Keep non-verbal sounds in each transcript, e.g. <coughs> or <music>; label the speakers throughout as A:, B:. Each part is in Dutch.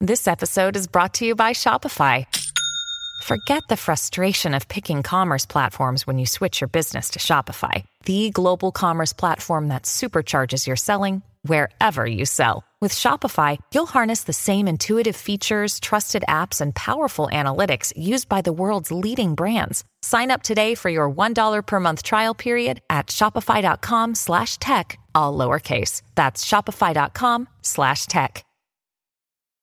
A: This episode is brought to you by Shopify. Forget the frustration of picking commerce platforms when you switch your business to Shopify, the global commerce platform that supercharges your selling wherever you sell. With Shopify, you'll harness the same intuitive features, trusted apps, and powerful analytics used by the world's leading brands. Sign up today for your $1 per month trial period at shopify.com slash tech, all lowercase. That's shopify.com slash tech.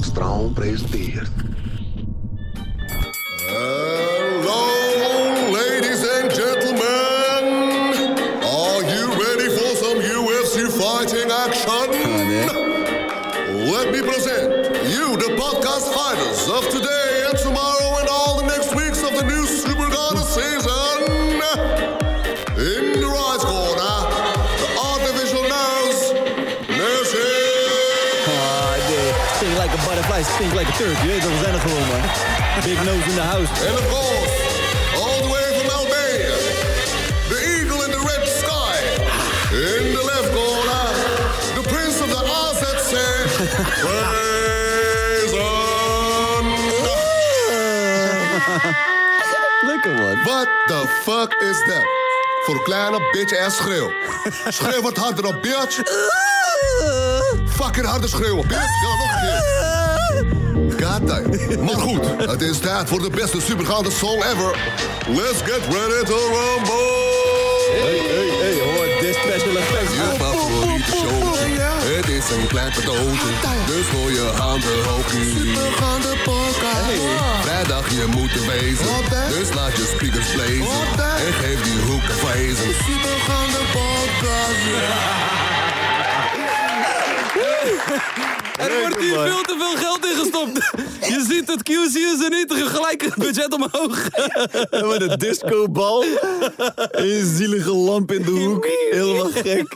B: Straum presenteert. Hello, ladies and gentlemen. Are you ready for some UFC fighting action? Let me present you the podcast fighters of today and tomorrow and all the next weeks of the new Super Goddess season. In the right corner, the artificial nose, Nancy.
C: Ah, nee.
D: eh,
C: Sting like a butterfly, stink like a turd. Je weet dat, we zijn er gewoon, man. Big nose in the house.
B: And of course, all the way from Albania, the eagle in the red sky. In the left corner, the prince of the RZC, Faison.
C: <laughs> Lekker, man.
B: What the fuck is that? Voor kleine bitch ass schreeuw. Schreeuw wat harder op, bitch. Fucking harder schreeuwen, bitch. Ja, nog een keer. Goddamn. Maar goed, het is tijd voor de beste supergaande song ever. Let's get ready to rumble!
C: Hey, hey, hey, hoor. This special effects.
B: Je favoriete showtje, het is een klein cadeautje. Dus gooi je handen hoog nu. Supergaande podcast. Vrijdag je moet er wezen, dus laat je speakers blazen. En geef die hoek een vrezen. Supergaande podcast.
D: Er wordt hier veel te veel geld in gestopt. Je ziet dat QC is er niet, gelijk het budget omhoog.
C: Met een discobal. En je zielige lamp in de hoek. Helemaal gek.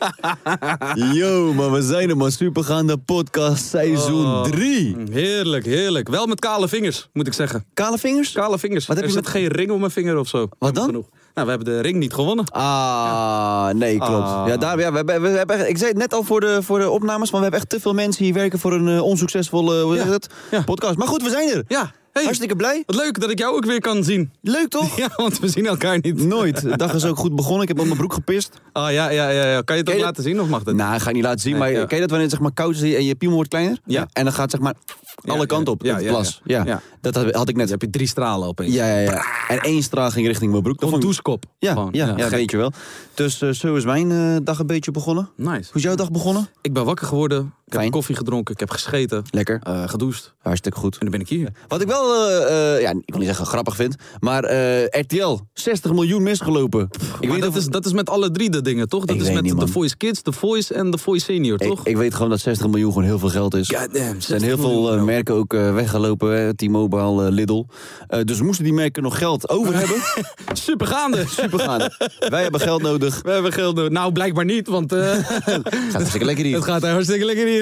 C: Yo, maar we zijn er, man. Supergaande podcast seizoen
D: Oh.
C: 3.
D: Heerlijk, heerlijk. Wel met kale vingers, moet ik zeggen.
C: Kale vingers?
D: Kale vingers.
C: Wat heb
D: er
C: je
D: zit
C: met-
D: geen ring om mijn vinger of zo. Jammer
C: dan?
D: genoeg. Nou, we hebben de ring niet gewonnen.
C: Ah, nee, klopt.
D: Ah.
C: Ja, daar, ja, we hebben, we hebben echt, ik zei het net al voor de, voor de opnames, maar we hebben echt te veel mensen die werken voor een eh, onsuccesvolle hoe zeg je dat?
D: Ja.
C: podcast. Maar goed, we zijn er.
D: Ja, hey.
C: Hartstikke blij.
D: Wat leuk dat ik jou ook weer kan zien. <laughs>
C: Leuk toch?
D: Ja, want we zien elkaar niet.
C: Nooit. De dag is ook goed begonnen. Ik heb op mijn broek gepist.
D: Ah, ja, ja, ja. ja. Kan je het
C: Ken
D: ook
C: je
D: laten zien of mag dat?
C: Nou, ga ik niet laten zien,
D: Nee,
C: maar
D: ja.
C: ken je dat wanneer het zeg maar koud is en je piemel wordt kleiner?
D: Ja.
C: En dan gaat zeg maar alle
D: ja.
C: kanten op.
D: Ja,
C: Ja,
D: ja,
C: glas.
D: ja.
C: Ja.
D: Ja.
C: Dat had, had ik net.
D: Dan heb je drie stralen opeens.
C: Ja, ja, ja. En één straal ging richting mijn broek. Dat
D: Gewoon
C: vond ik-
D: douchekop.
C: Ja,
D: Gewoon,
C: ja,
D: ja,
C: ja,
D: gek.
C: weet je wel. Dus eh, zo is mijn eh, dag een beetje begonnen.
D: Nice.
C: Hoe is jouw dag begonnen?
D: Ik ben wakker geworden. Ik
C: Fijn.
D: heb koffie gedronken. Ik heb gescheten.
C: Lekker.
D: eh, gedoucht. En
C: Hartstikke goed.
D: dan ben ik hier.
C: Wat ik wel, eh, eh, ja, ik wil niet zeggen grappig vind, maar eh, RTL, 60 miljoen misgelopen. ik,
D: Maar
C: weet
D: dat,
C: of-
D: is, dat is met alle drie de dingen, toch? Dat
C: Ik
D: is
C: weet
D: met
C: niet,
D: The
C: man.
D: Voice Kids, The Voice en The Voice Senior,
C: ik,
D: toch?
C: ik weet gewoon dat 60 miljoen gewoon heel veel geld is.
D: Goddamn,
C: er
D: 60
C: zijn heel veel eh,
D: miljoen.
C: merken ook eh, weggelopen, hè, T-Mobile, eh, Lidl. Eh, dus moesten die merken nog geld over
D: <laughs>
C: hebben?
D: Super
C: <laughs>
D: gaande.
C: Supergaande. Wij hebben geld nodig.
D: We hebben geld nodig. Nou, blijkbaar niet, want eh,
C: <laughs> Gaat hartstikke lekker hier.
D: het gaat hartstikke lekker hier.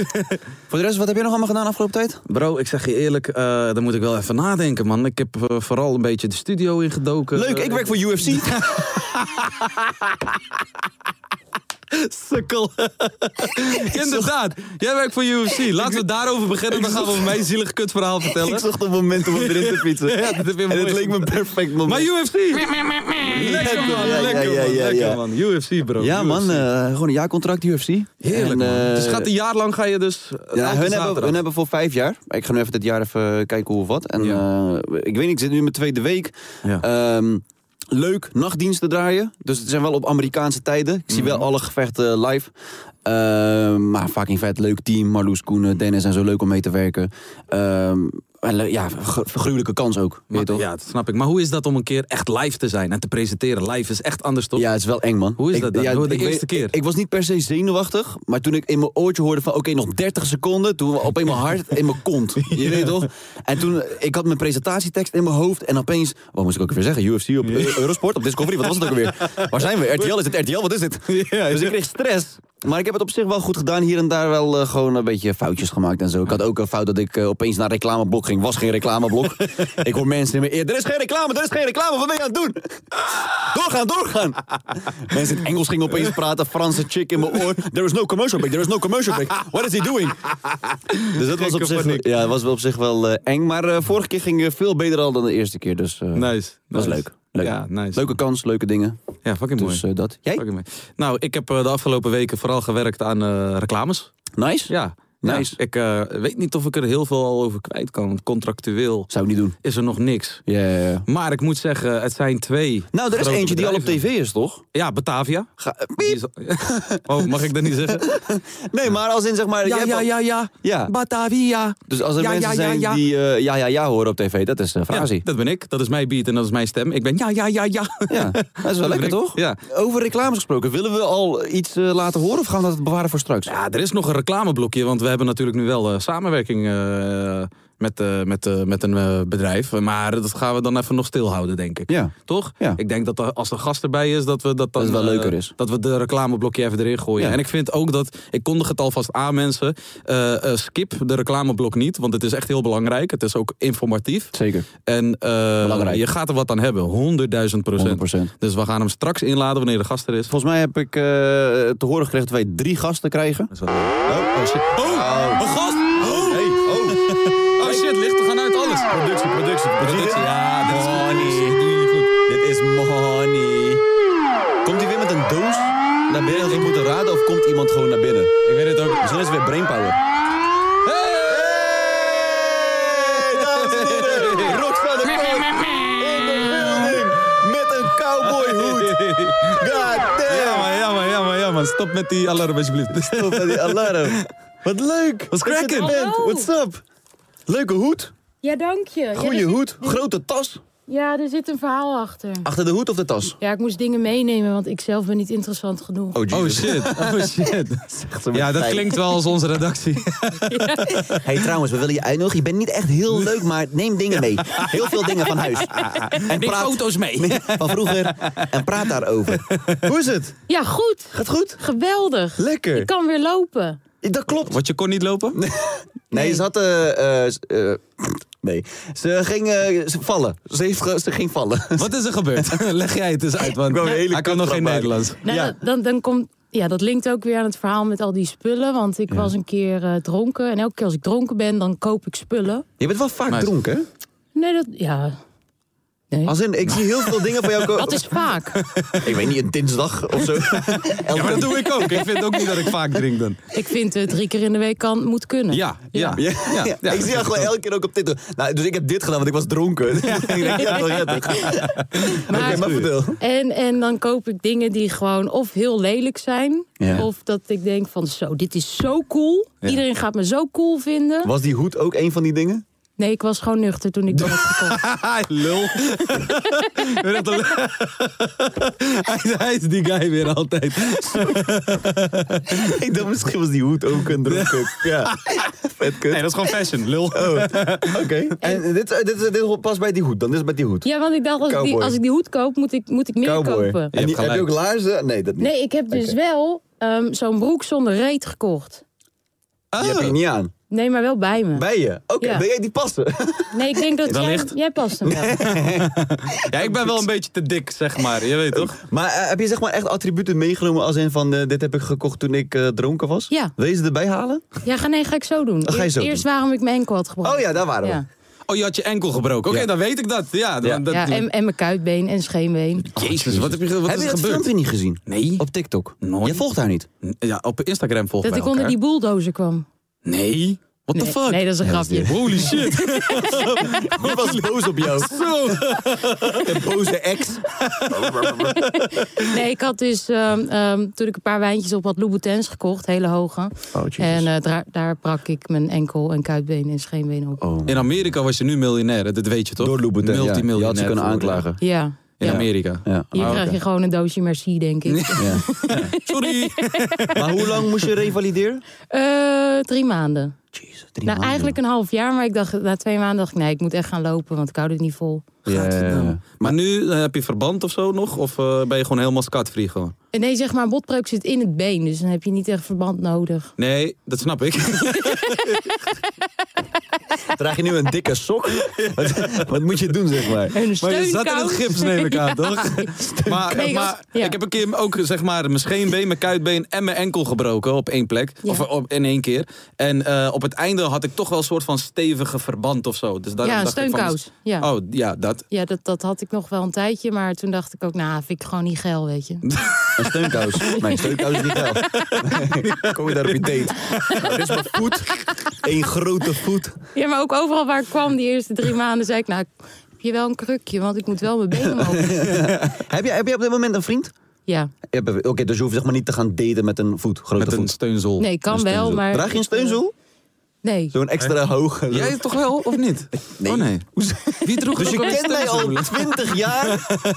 C: Voor de rest, wat heb jij nog allemaal gedaan afgelopen tijd?
D: Bro, ik zeg je eerlijk, eh daar moet ik wel even nadenken, man. Ik heb eh, vooral een beetje de studio ingedoken.
C: Leuk, ik werk voor UFC.
D: Sukkel. Inderdaad, jij werkt voor <laughs> UFC. Laten we het daarover beginnen, dan gaan we over mijn zielig <laughs> kutverhaal
C: ik
D: vertellen.
C: zocht een moment om hem erin te fietsen.
D: <laughs> Ja, dat heb je
C: en
D: mooi
C: het leek me een
D: gedaan.
C: perfect moment.
D: Maar UFC! Lekker man,
C: ja,
D: lekker
C: ja,
D: man,
C: ja,
D: lekker
C: ja.
D: man. UFC, bro.
C: ja, man,
D: UFC.
C: eh, gewoon een jaarcontract UFC.
D: Heerlijk,
C: En,
D: man.
C: eh,
D: Dus gaat een jaar lang ga je dus...
C: Ja, hun hebben, hun hebben voor vijf jaar. Ik ga nu even dit jaar even kijken hoe of wat. En
D: Ja.
C: eh, ik weet niet, ik zit nu in mijn tweede week.
D: Ja.
C: Ehm,
D: Mhm.
C: leuk, nachtdiensten draaien. Dus het zijn wel op Amerikaanse tijden. Ik zie wel alle gevechten live. Ehm, maar fucking vet, leuk team. Marloes, Koenen, Dennis en zo leuk om mee te werken. Ehm, en le- ja, ge- gruwelijke kans ook. Weet je
D: Maar-
C: toch?
D: ja, dat snap ik. Maar hoe is dat om een keer echt live te zijn en te presenteren? Live is echt anders toch?
C: Ja, het is wel eng, man.
D: Hoe is dat dan? Hoe de
C: weet-
D: eerste keer?
C: Ik, ik was niet per se zenuwachtig, maar toen ik in mijn oortje hoorde van... oké, nog 30 seconden, toen op
D: <laughs>
C: eenmaal hard in mijn kont. Je weet toch? En toen, ik had mijn presentatietekst in mijn hoofd en opeens... wat moest ik ook weer zeggen? UFC op eh, Eurosport, op Discovery, wat was het ook weer? Waar zijn we? RTL, is het RTL? Wat is
D: <laughs>
C: dit? Dus ik kreeg stress. Maar ik heb het op zich wel goed gedaan. Hier en daar wel eh, gewoon een beetje foutjes gemaakt en zo. Ik had ook een fout dat ik eh, opeens naar reclameblok ging. Was geen
D: <laughs>
C: reclameblok. ik hoor mensen in mijn eer. Er is geen reclame, er is geen reclame. Wat ben je aan het doen? Doorgaan, doorgaan. Mensen in het Engels gingen opeens praten. Franse chick in mijn oor. There is no commercial break. There is no commercial break. What is he doing? Dus dat was op zich,
D: paniek.
C: ja, dat was wel op zich wel eh, eng. Maar eh, vorige keer ging eh, veel beter al dan de eerste keer. Dus eh,
D: Nice.
C: was
D: nice.
C: leuk. leuk.
D: Ja, nice.
C: Leuke kans, leuke dingen.
D: Ja, fucking mooi.
C: Dus eh, dat. Jij?
D: Fucking mooi. Nou, ik heb eh, de afgelopen weken vooral gewerkt aan eh, reclames.
C: Nice?
D: Ja.
C: Nice.
D: Ja, ik eh, weet niet of ik er heel veel al over kwijt kan. Want contractueel
C: Zou ik niet doen.
D: is er nog niks.
C: Ja, ja, ja.
D: Maar ik moet zeggen, het zijn twee.
C: Nou, er is
D: grote
C: eentje die al op
D: bedrijven.
C: tv is, toch?
D: Ja, Batavia.
C: Ga- eh,
D: Die
C: piep.
D: is al- <laughs> oh, mag ik dat niet
C: <laughs>
D: zeggen?
C: Nee, maar als in zeg maar... jij
D: Ja,
C: hebt
D: ja,
C: al-
D: ja, ja.
C: Ja.
D: Batavia.
C: Dus als er
D: Ja,
C: mensen
D: ja, ja,
C: zijn
D: ja.
C: die eh, ja, ja, ja horen op tv, dat is eh, een
D: Ja,
C: frasie.
D: dat ben ik. Dat is mijn beat en dat is mijn stem. Ik ben ja, ja, ja, ja. <laughs>
C: Ja, dat is wel lekker, toch?
D: Ja.
C: Over reclames gesproken, willen we al iets eh, laten horen of gaan we dat bewaren voor straks?
D: Ja, er is nog een reclameblokje, want we hebben natuurlijk nu wel eh, samenwerking eh, met, eh, met, eh, met een eh, bedrijf. Maar dat gaan we dan even nog stilhouden, denk ik.
C: Ja.
D: Toch?
C: Ja.
D: Ik denk dat er- als er gast erbij is, dat we dat dan...
C: het wel
D: eh,
C: leuker is.
D: Dat we de reclameblokje even erin gooien.
C: Ja.
D: En ik vind ook dat, ik kondig het alvast aan mensen, eh, eh, skip de reclameblok niet, want het is echt heel belangrijk. Het is ook informatief.
C: Zeker.
D: En eh,
C: Belangrijk.
D: je gaat er wat aan hebben, 100.000
C: 100%.
D: Dus we gaan hem straks inladen wanneer de gast er is.
C: Volgens mij heb ik eh, te horen gekregen dat wij drie gasten krijgen.
D: Oh, een gast! Oh,
C: Hey, oh.
D: <laughs> oh shit, lichten gaan uit alles.
C: productie, productie, productie.
D: Ja, dit is goed.
C: money.
D: Doe je goed.
C: Dit is money. Komt hij weer met een doos naar binnen dat we moeten raden of komt iemand gewoon naar binnen?
D: Ik weet het ook.
C: Misschien is het weer brainpower. Hey, dames en heren. Roxanne de Koning in de building met een
D: <laughs>
C: cowboyhoed. God damn.
D: Jammer, jammer, jammer, jammer. Stop met die alarm
C: <laughs>
D: alsjeblieft.
C: Op aan die alarm. Wat leuk.
D: What's
C: Dat je
D: cracking?
C: er bent.
E: Hallo.
C: What's up? Leuke hoed.
E: Ja, dank je. Ja, er
C: Goeie
E: zit-
C: hoed. Grote tas.
E: Ja, er zit een verhaal achter.
C: Achter de hoed of de tas?
E: Ja, ik moest dingen meenemen, want ik zelf ben niet interessant genoeg.
D: Oh shit, oh shit. Ja, dat klinkt wel als onze
C: <laughs>
D: redactie.
C: Hey, trouwens, we willen je uitnodigen. Je bent niet echt heel leuk, maar neem dingen mee. Heel veel dingen van <laughs> huis. En
D: Neem foto's mee.
C: <laughs> van vroeger en praat daarover. Hoe is het?
E: Ja, goed.
C: Gaat goed?
E: Geweldig.
C: Lekker.
E: Ik kan weer lopen.
C: Dat klopt.
D: Wat je kon niet lopen?
C: Nee, ze had... eh, eh, s- eh, nee. Ze ging eh, ze vallen. Ze, heeft ge- ze ging vallen. <laughs>
D: Wat is er gebeurd? Leg jij het eens uit, want
C: wou een hele
D: hij kan nog geen
C: kutgrap maken.
D: Nederlands.
E: Nou,
C: Ja.
E: dat- dan, dan komt, ja, dat linkt ook weer aan het verhaal met al die spullen. Want ik was een keer eh, dronken. En elke keer als ik dronken ben, dan koop ik spullen.
C: Je bent wel vaak
D: Meid.
C: dronken, hè?
E: Nee, dat... Ja. Nee.
C: Als in, ik zie heel veel dingen van jou komen.
E: Dat is vaak.
C: <laughs> Ik weet niet, een dinsdag of <laughs> zo.
D: Ja, maar dat doe ik ook. Ik vind ook niet dat ik vaak drink dan.
E: ik vind eh, drie keer in de week kan, moet kunnen.
D: Ja, ja, ja. ja,
C: ik zie jou gewoon elke keer ook op dit. Nou, dus ik heb dit gedaan, want <laughs> ik was dronken. Ja, ja wel <laughs> redelijk. Oké, maar vertel.
E: En, en dan koop ik dingen die gewoon of heel lelijk zijn.
C: Ja.
E: Of dat ik denk van zo, dit is zo cool. Iedereen gaat me zo cool vinden.
C: Was die hoed ook een van die <laughs> dingen?
E: Nee, ik was gewoon nuchter toen ik dat had
C: <laughs>
E: gekocht.
D: Hi, lul. Weer dat een- hij, hij is die guy weer altijd.
C: ik dacht, misschien was die hoed ook een dronken. Ja, vet kut. Oh,
D: Nee, dat is gewoon fashion, lul.
C: Oké. En dit, eh, dit, dit, past bij die hoed dan? Dit is bij die hoed?
E: Ja, want ik dacht, als ik, die,
C: Cowboy.
E: als ik die hoed koop, moet ik, moet ik meer kopen.
C: En die,
D: hebt
C: heb je ook
D: gelijk.
C: laarzen? Nee, dat niet.
E: Nee, ik heb dus wel ehm, zo'n broek zonder reet gekocht.
C: Die heb je niet aan.
E: Nee, maar wel bij me.
C: Bij je? Oké,
E: Ja.
C: wil jij die <laughs> passen?
E: Nee, ik
C: <laughs>
E: denk dat
D: Dan
E: jij,
D: ligt-
E: jij past hem wel.
D: Ja, ik ben wel een beetje te dik, zeg maar. Je weet toch?
C: maar eh, heb je zeg maar echt attributen meegenomen als in van... eh, dit heb ik gekocht toen ik eh, dronken was?
E: Ja.
C: Wil je ze erbij halen?
E: Ja, ga, nee, ga ik zo doen.
C: ga je
E: Eerst-
C: zo
E: Eerst
C: doen.
E: waarom ik mijn enkel had gebroken.
C: Oh ja, daar waren we.
D: Oh, je had je enkel gebroken. Oké, dan weet ik dat. Ja, dan-
C: Ja.
D: dat
E: ja en, en mijn kuitbeen en scheenbeen.
D: Jezus, wat, heb je, ge- wat
C: Heb
D: is
C: je
D: er
C: dat
D: gebeurd?
C: filmpje niet gezien?
D: Nee.
C: Op TikTok?
D: Nooit.
C: Jij volgt haar niet?
D: Ja, op Instagram volgen
E: Dat
D: wij
E: ik onder
D: elkaar.
E: die bulldozer kwam.
D: Nee. What the
E: Nee,
D: fuck?
E: nee, dat is een grapje.
D: Holy
C: <laughs>
D: shit.
C: Ik was boos op jou.
D: <laughs> Zo.
C: De boze ex.
E: Nee, ik had dus ehm, ehm, toen ik een paar wijntjes op had Louboutins gekocht, hele hoge.
C: Oh, jezus.
E: en eh, daar, daar brak ik mijn enkel en kuitbeen en scheenbeen op.
C: Oh.
D: In Amerika was je nu miljonair, dat weet je toch?
C: Door Louboutin. Ja.
D: Multimiljonair.
C: Je had ze kunnen
D: geworden.
C: aanklagen.
E: Ja.
D: In
E: ja.
D: Amerika.
C: Ja.
E: Hier
D: Ah,
E: krijg
D: oké.
E: je gewoon een doosje merci, denk ik.
C: Ja.
E: <laughs>
D: Sorry.
C: Maar hoe lang moest je revalideren?
E: Eh, drie maanden.
C: Jezus,
E: nou,
C: drie maanden.
E: eigenlijk een half jaar, maar ik dacht, na twee maanden dacht ik, nee, ik moet echt gaan lopen, want ik hou dit niet vol.
C: Ja, ja, ja.
D: Maar nu eh,
C: <laughs>
D: heb je verband of zo nog? Of eh, ben je gewoon helemaal skatvrij gewoon?
E: En nee, zeg maar, een botbreuk zit in het been, dus dan heb je niet echt verband nodig.
D: Nee, dat snap ik.
C: <laughs> Draag je nu een dikke sok? Wat, wat moet je doen, zeg maar?
E: Een
D: Maar je zat in het
E: steunkoud.
D: gips, neem
C: <laughs>
E: <laughs>
D: ik aan,
E: Ja.
D: toch? Maar,
E: Nee,
D: maar
E: ja.
D: ik heb een keer ook zeg maar, mijn scheenbeen, mijn kuitbeen en mijn enkel gebroken op één plek.
E: Ja.
D: Of op, in één keer. En eh, op het einde had ik toch wel een soort van stevige verband of zo. Dus daar
E: Ja, een
D: dacht ik van,
E: steunkous. Ja.
D: Oh, ja, dat.
E: Ja, dat, dat had ik nog wel een tijdje, maar toen dacht ik ook, nou, vind ik gewoon niet geil, weet je.
C: Een
E: <laughs>
C: steunkous. Mijn steunkous is niet geil. <laughs> Kom je daar op je date? Nou, dit is mijn voet. Eén grote voet.
E: Ja, maar ook overal waar ik kwam, die eerste drie maanden, zei ik, nou, heb je wel een krukje, want ik moet wel mijn benen
C: <laughs>
E: omhoog.
C: <laughs> Heb je, heb je op dit moment een vriend?
E: Ja,
C: Ja, Oké, dus je hoeft zeg maar niet te gaan daten met een voet, grote
D: Met een
C: voet.
D: steunzool.
E: nee, kan wel, maar...
C: Draag je een steunzoel?
E: Nee.
C: Zo'n extra hoge.
D: Jij toch wel, of niet? Oh <laughs> nee. Wie droeg
C: Dus je
D: ook al
C: kent mij al
D: steunzolen?
C: 20 jaar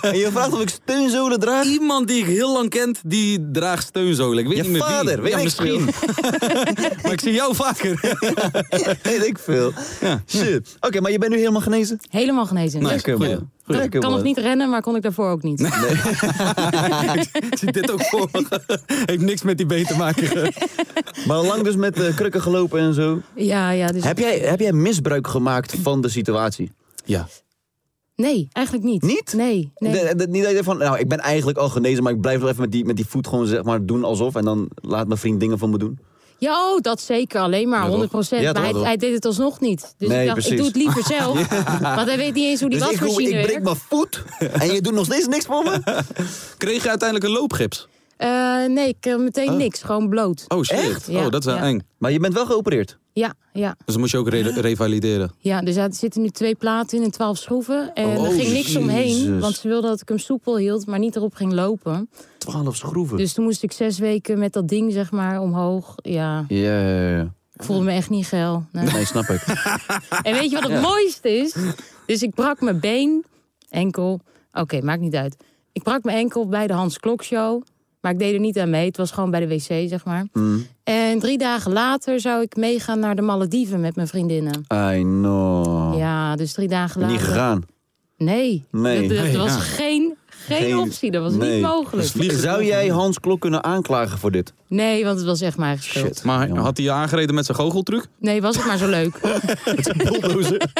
C: en je vraagt of ik steunzolen draag?
D: Iemand die ik heel lang kent, die draagt steunzolen. Ik weet
C: Je
D: niet meer wie.
C: vader, weet
D: ja,
C: ik
D: misschien. maar ik zie jou
C: <laughs>
D: vaker.
C: Weet ik veel. Shit. Oké, maar je bent nu helemaal genezen?
E: Helemaal genezen.
D: Nee,
E: Dus
D: oké,
C: Goed.
D: man.
C: Goed.
E: kan-
C: Lekker,
E: kan nog
C: man.
E: niet rennen, maar kon ik daarvoor ook niet.
D: Ik zie dit ook voor
C: <laughs>
D: me. Heeft niks met die been te maken.
C: Maar lang dus met eh, krukken gelopen en zo.
E: Ja, ja, dus...
C: Heb jij, heb jij <laughs> misbruik gemaakt van de situatie?
D: Ja.
E: Nee, eigenlijk niet.
C: Niet?
E: Nee, nee.
C: De- de- niet dat je denkt van, nou, ik ben eigenlijk al genezen, maar ik blijf nog even met die, met die voet gewoon zeg maar doen alsof. En dan laat mijn vriend dingen voor me <laughs> doen.
E: Ja, oh, dat zeker. Alleen maar, 100 procent.
C: Ja,
E: maar
C: toch,
E: hij,
C: toch?
E: hij deed het alsnog niet. Dus
C: Nee,
E: ik dacht, ik
C: precies.
E: doe het
C: <laughs>
E: liever zelf. Want hij weet niet eens hoe die
C: dus ik,
E: wasmachine
C: ik breek
E: werkt.
C: mijn voet en je doet nog steeds niks voor me?
D: Kreeg je uiteindelijk een loopgips?
E: Eh, nee, ik eh, meteen niks. Gewoon bloot.
D: Oh shit.
C: Echt?
D: Oh, dat is wel
E: Ja.
D: eng.
C: Maar je bent wel geopereerd.
E: Ja, ja.
D: Dus dan moest je ook
E: <gasps>
D: re- revalideren.
E: Ja, dus er zitten nu twee platen in en twaalf schroeven. En
D: Oh,
E: er ging niks omheen,
C: Jezus.
E: want ze wilde dat ik hem soepel hield, maar niet erop ging lopen.
C: Twaalf schroeven.
E: Dus toen moest ik zes weken met dat ding, zeg maar, omhoog. Ja,
C: Ja, ja, ja.
E: ik voelde me echt niet geil. Nee.
D: <laughs>
C: Nee, snap ik.
E: En weet je wat het mooiste is? Dus ik brak mijn been, enkel. Oké, maakt niet uit. Ik brak mijn enkel bij de Hans Klok Show. Maar ik deed er niet aan mee. Het was gewoon bij de wc, zeg maar. En drie dagen later zou ik meegaan naar de Malediven met mijn vriendinnen.
C: <laughs> I know.
E: Ja, dus drie dagen later.
C: Oh. Niet gegaan.
E: Nee,
C: Nee.
E: dat, dat
D: Nee,
E: was
D: ja.
E: geen, geen,
C: Geen-
E: optie. Dat was
C: nee.
E: niet mogelijk.
C: Zou jij Hans Klok kunnen aanklagen voor dit?
E: Nee, want het was echt mijn eigen schuld.
D: Maar had hij je aangereden met zijn goocheltruc?
E: Nee, was het maar zo leuk.
C: <laughs>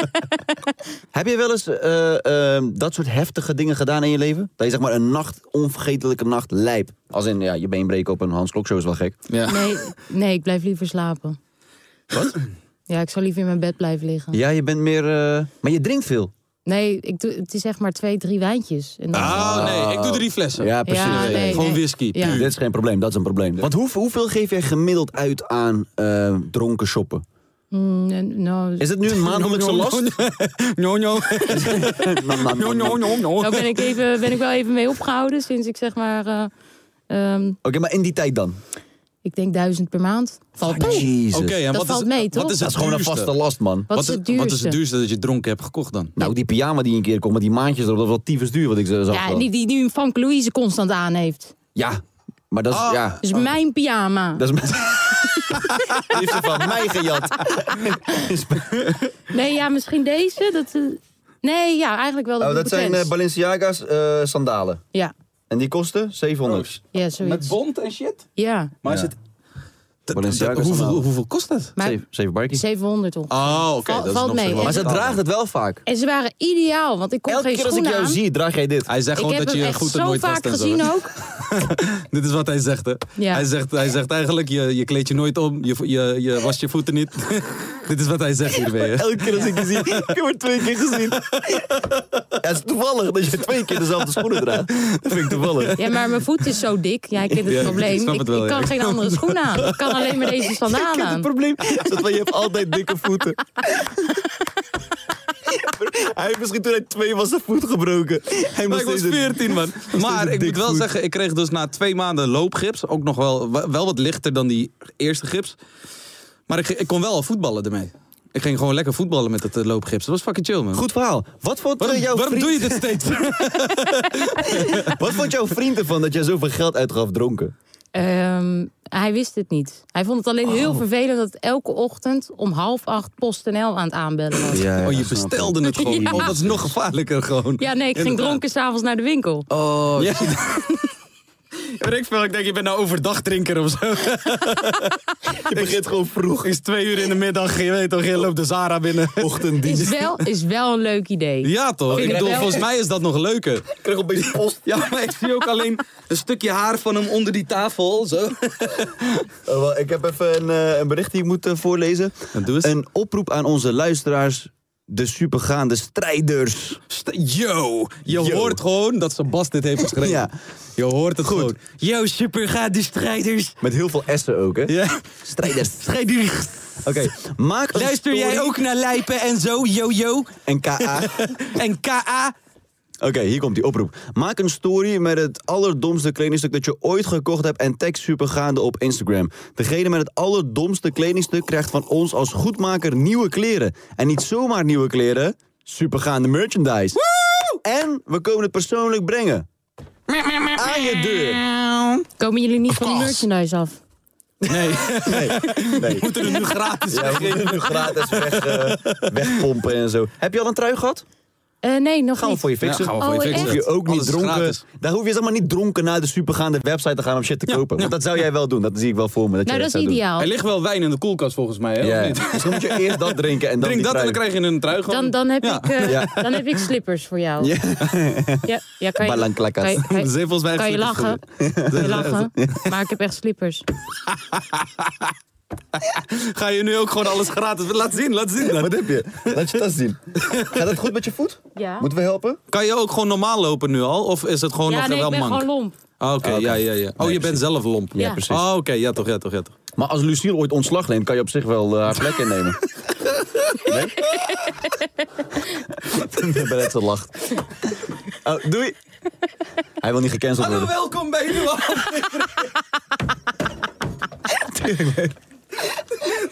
C: Heb je wel eens eh, eh, dat soort heftige dingen gedaan in je leven? Dat je zeg maar een nacht, onvergetelijke nacht, lijp. Als in, ja, je been breken op een Hans Klok show is wel gek.
D: Ja.
E: Nee, nee ik blijf liever slapen.
C: Wat?
E: Ja, ik zou liever in mijn bed blijven liggen.
C: Ja, je bent meer... eh, maar je drinkt veel.
E: Nee, ik doe, het is zeg maar twee, drie wijntjes. En dan-
D: Oh nee, ik doe drie flessen.
C: Ah. Ja, eh, precies.
E: Ja, Ah, nee, nee.
D: Gewoon whisky. <laughs>
E: Ja.
D: puur.
C: Dit is geen probleem, dat is een probleem. Want hoe, hoeveel geef jij gemiddeld uit aan eh, dronken shoppen?
E: Mm, eh, nou,
C: Is het nu een <laughs> maandelijkse last?
D: No, <laughs> no.
C: Nou, nou,
D: No, no,
C: nou, nou.
D: no, no.
E: nou ben, ik even, ben ik wel even mee opgehouden sinds ik zeg maar... eh, ehm,
C: Oké, maar in die tijd dan?
E: ik denk duizend per maand. Valt mee.
C: Jezus.
D: Oké, en
E: Dat
D: wat
E: valt
D: is,
E: mee,
D: wat
E: toch?
D: is
C: Dat
D: het
C: is gewoon een
D: duurste?
C: vaste last, man.
E: Wat is het
D: Wat is
E: duurste?
D: het duurste dat je dronken hebt gekocht dan?
C: Nou, die pyjama die een keer komt met die maandjes erop, dat was wel tyfus duur wat ik zo zag.
E: Ja,
C: wel.
E: die, die nu een Frank Louise constant aan heeft.
C: ja. maar dat is... Ja.
E: Dus mijn pyjama.
C: Dat <laughs> is... Die heeft ze van mij <laughs> gejat.
E: Nee, ja, misschien deze. Dat, eh, nee, ja, eigenlijk wel. de
C: Oh, dat zijn
E: Louis
C: eh,
E: Vuitton.
C: Balenciaga's eh, sandalen.
E: Ja,
C: En die kosten 700.
E: ja, zoiets.
D: bont en shit?
E: Ja,
D: Maar
C: Ja.
D: is het...
C: Balenciaga's
D: hoeveel,
C: sandalen.
D: hoeveel kost dat?
E: maar
C: Zeven- Zeven barkie.
E: 700 op.
D: Oh, oké.
E: Val-
D: dat is
E: valt
D: nog
E: mee.
D: steeds wel
E: En
C: Maar
E: ze
C: ze draagt het wel vaak.
E: En ze waren ideaal, want ik kon
C: Elke
E: geen
C: keer als ik
E: schoenen
C: jou
E: aan.
C: zie, draag jij dit.
D: Hij zegt
E: Ik
D: gewoon
E: heb
D: dat
E: hem
D: je
E: echt
D: goed en
E: zo
D: nooit
E: vaak
D: was en zo.
E: gezien ook.
D: <laughs> Dit is wat hij zegt, hè?
E: Ja.
D: Hij, zegt, hij zegt eigenlijk, je, je kleed je nooit om, je, vo- je, je wast je voeten niet. <laughs> Dit is wat hij zegt hierbij, hè?
C: Elke keer als ik je zie, ik heb er twee keer gezien. Ja, het is toevallig dat je twee keer dezelfde schoenen draagt.
D: Dat vind ik toevallig.
E: Ja, maar mijn voet is zo dik. Ja, ik ken het
D: Ja, ik
E: probleem. Ik,
D: snap het wel,
E: ik kan
D: ja.
E: geen andere schoen aan. Ik kan alleen maar
C: <laughs>
E: deze
C: Ik
E: sandalen
C: heb het
E: aan.
C: <laughs> probleem. is dat, je hebt altijd dikke
D: <laughs>
C: voeten. Hij heeft misschien toen hij twee was zijn voet gebroken.
D: Maar
C: Hij moest
D: ik was
C: deze-
D: 14, man. Maar
C: een
D: ik
C: dik
D: moet wel
C: voet.
D: zeggen, ik kreeg dus na twee maanden loopgips. Ook nog wel, wel wat lichter dan die eerste gips. Maar ik, ik kon wel al voetballen ermee. Ik ging gewoon lekker voetballen met het eh, loopgips. Dat was fucking chill, man.
C: Goed verhaal. Wat vond, eh,
D: Waarom,
C: jouw
D: waarom doe
C: vriend,
D: je dit steeds?
C: <laughs> wat vond jouw vriend ervan dat jij zoveel geld uitgaf dronken?
E: Ehm, hij wist het niet. Hij vond het alleen
C: Oh.
E: heel vervelend dat elke ochtend om half acht PostNL aan het aanbellen was. Ja,
D: oh, je bestelde het gewoon.
E: Ja.
D: Oh, dat is nog gevaarlijker gewoon.
E: nee, ik ging
D: Inderdaad.
E: dronken s'avonds naar de winkel.
D: Oh, <laughs> ja. Ja, weet Ik, veel, ik denk, je bent nou overdag drinker of <laughs> zo. je begint gewoon vroeg. Het is twee uur in de middag. Je weet toch, je loopt de Zara binnen. Ochtenddienst.
E: Is wel, is wel een leuk idee.
D: Ja, toch? Ik
E: ik
D: bedoel,
E: wel.
D: volgens mij is dat nog leuker.
C: Ik kreeg opeens post.
D: Ja, maar ik zie ook alleen een stukje haar van hem onder die tafel. Zo.
C: Oh, wel, ik heb even een, eh, een bericht die ik moet eh, voorlezen.
D: doe eens.
C: Een oproep aan onze luisteraars, de supergaande strijders.
D: St- Yo, je
C: Yo.
D: hoort gewoon dat Sebas dit heeft geschreven.
C: Ja.
D: Je hoort het gewoon. Yo, super, ga de strijders.
C: Met heel veel S'en ook, hè?
D: Ja.
C: Strijders.
D: Strijders.
C: Oké, maak een
D: Luister jij
C: story-
D: ook naar Lijpen en zo, yo,
C: <laughs>
D: yo.
C: En KA.
D: <laughs> En KA.
C: Oké, hier komt die oproep. Maak een story met het allerdomste kledingstuk dat je ooit gekocht hebt en tag supergaande op Instagram. Degene met het allerdomste kledingstuk krijgt van ons als goedmaker nieuwe kleren. En niet zomaar nieuwe kleren, supergaande merchandise. En we komen het persoonlijk brengen. Aan je deur.
E: Komen jullie niet van de merchandise af?
D: Nee,
C: Nee.
D: moeten er nu gratis
C: Ja, we moeten nu gratis weg, eh, wegpompen en zo. Heb je al een trui gehad?
E: Eh, nee, nog
C: Gaan we
E: niet.
C: voor je fixen.
D: Ja, gaan we
E: voor je Oh,
C: Hoef
E: fixen.
C: je
D: echt?
C: ook niet
D: Alles is
C: dronken.
D: gratis.
C: Daar hoef je helemaal niet dronken naar de supergaande website te gaan om shit te kopen. Want dat zou jij wel doen. Dat zie ik wel voor me. Dat jij
E: Nou, dat is
C: zou doen.
E: ideaal.
D: Er ligt wel wijn in de koelkast volgens mij, hè?
C: Ja.
D: of niet?
C: Dus dan moet je eerst dat drinken en dan
D: Drink
C: die
D: dat en dan
C: trui.
D: krijg je een trui gewoon.
E: Dan, dan, heb
D: Ja.
E: ik, eh,
C: Ja.
E: dan heb ik slippers voor jou. Ja, <laughs> ja, kan je,
C: Balanclakas.
E: kan je- kan je-
D: Ze heeft volgens mij
E: kan je
D: slippers
E: lachen. Kan je lachen. Maar ik heb echt slippers.
D: Ga je nu ook gewoon alles gratis? Laat zien, laat zien. dan.
C: Wat heb je? Laat je tas zien. Gaat het goed met je voet?
E: Ja.
C: Moeten we helpen?
D: Kan je ook gewoon normaal lopen nu al? Of is het gewoon
E: ja,
D: nog
E: nee, ik
D: wel
E: ben
D: mank?
E: gewoon lomp.
D: Ah, Oké, ja, ja, ja. Oh, je bent zelf lomp.
E: Ja, precies.
D: Oh, oké, ja toch, ja toch, ja toch.
C: Maar als Lucille ooit ontslag neemt, kan je op zich wel eh, haar plek
E: <laughs>
C: innemen. Nee? Ik ben net zo lacht. Oh, doei. Hij wil niet gecanceld worden.
D: welkom bij jullie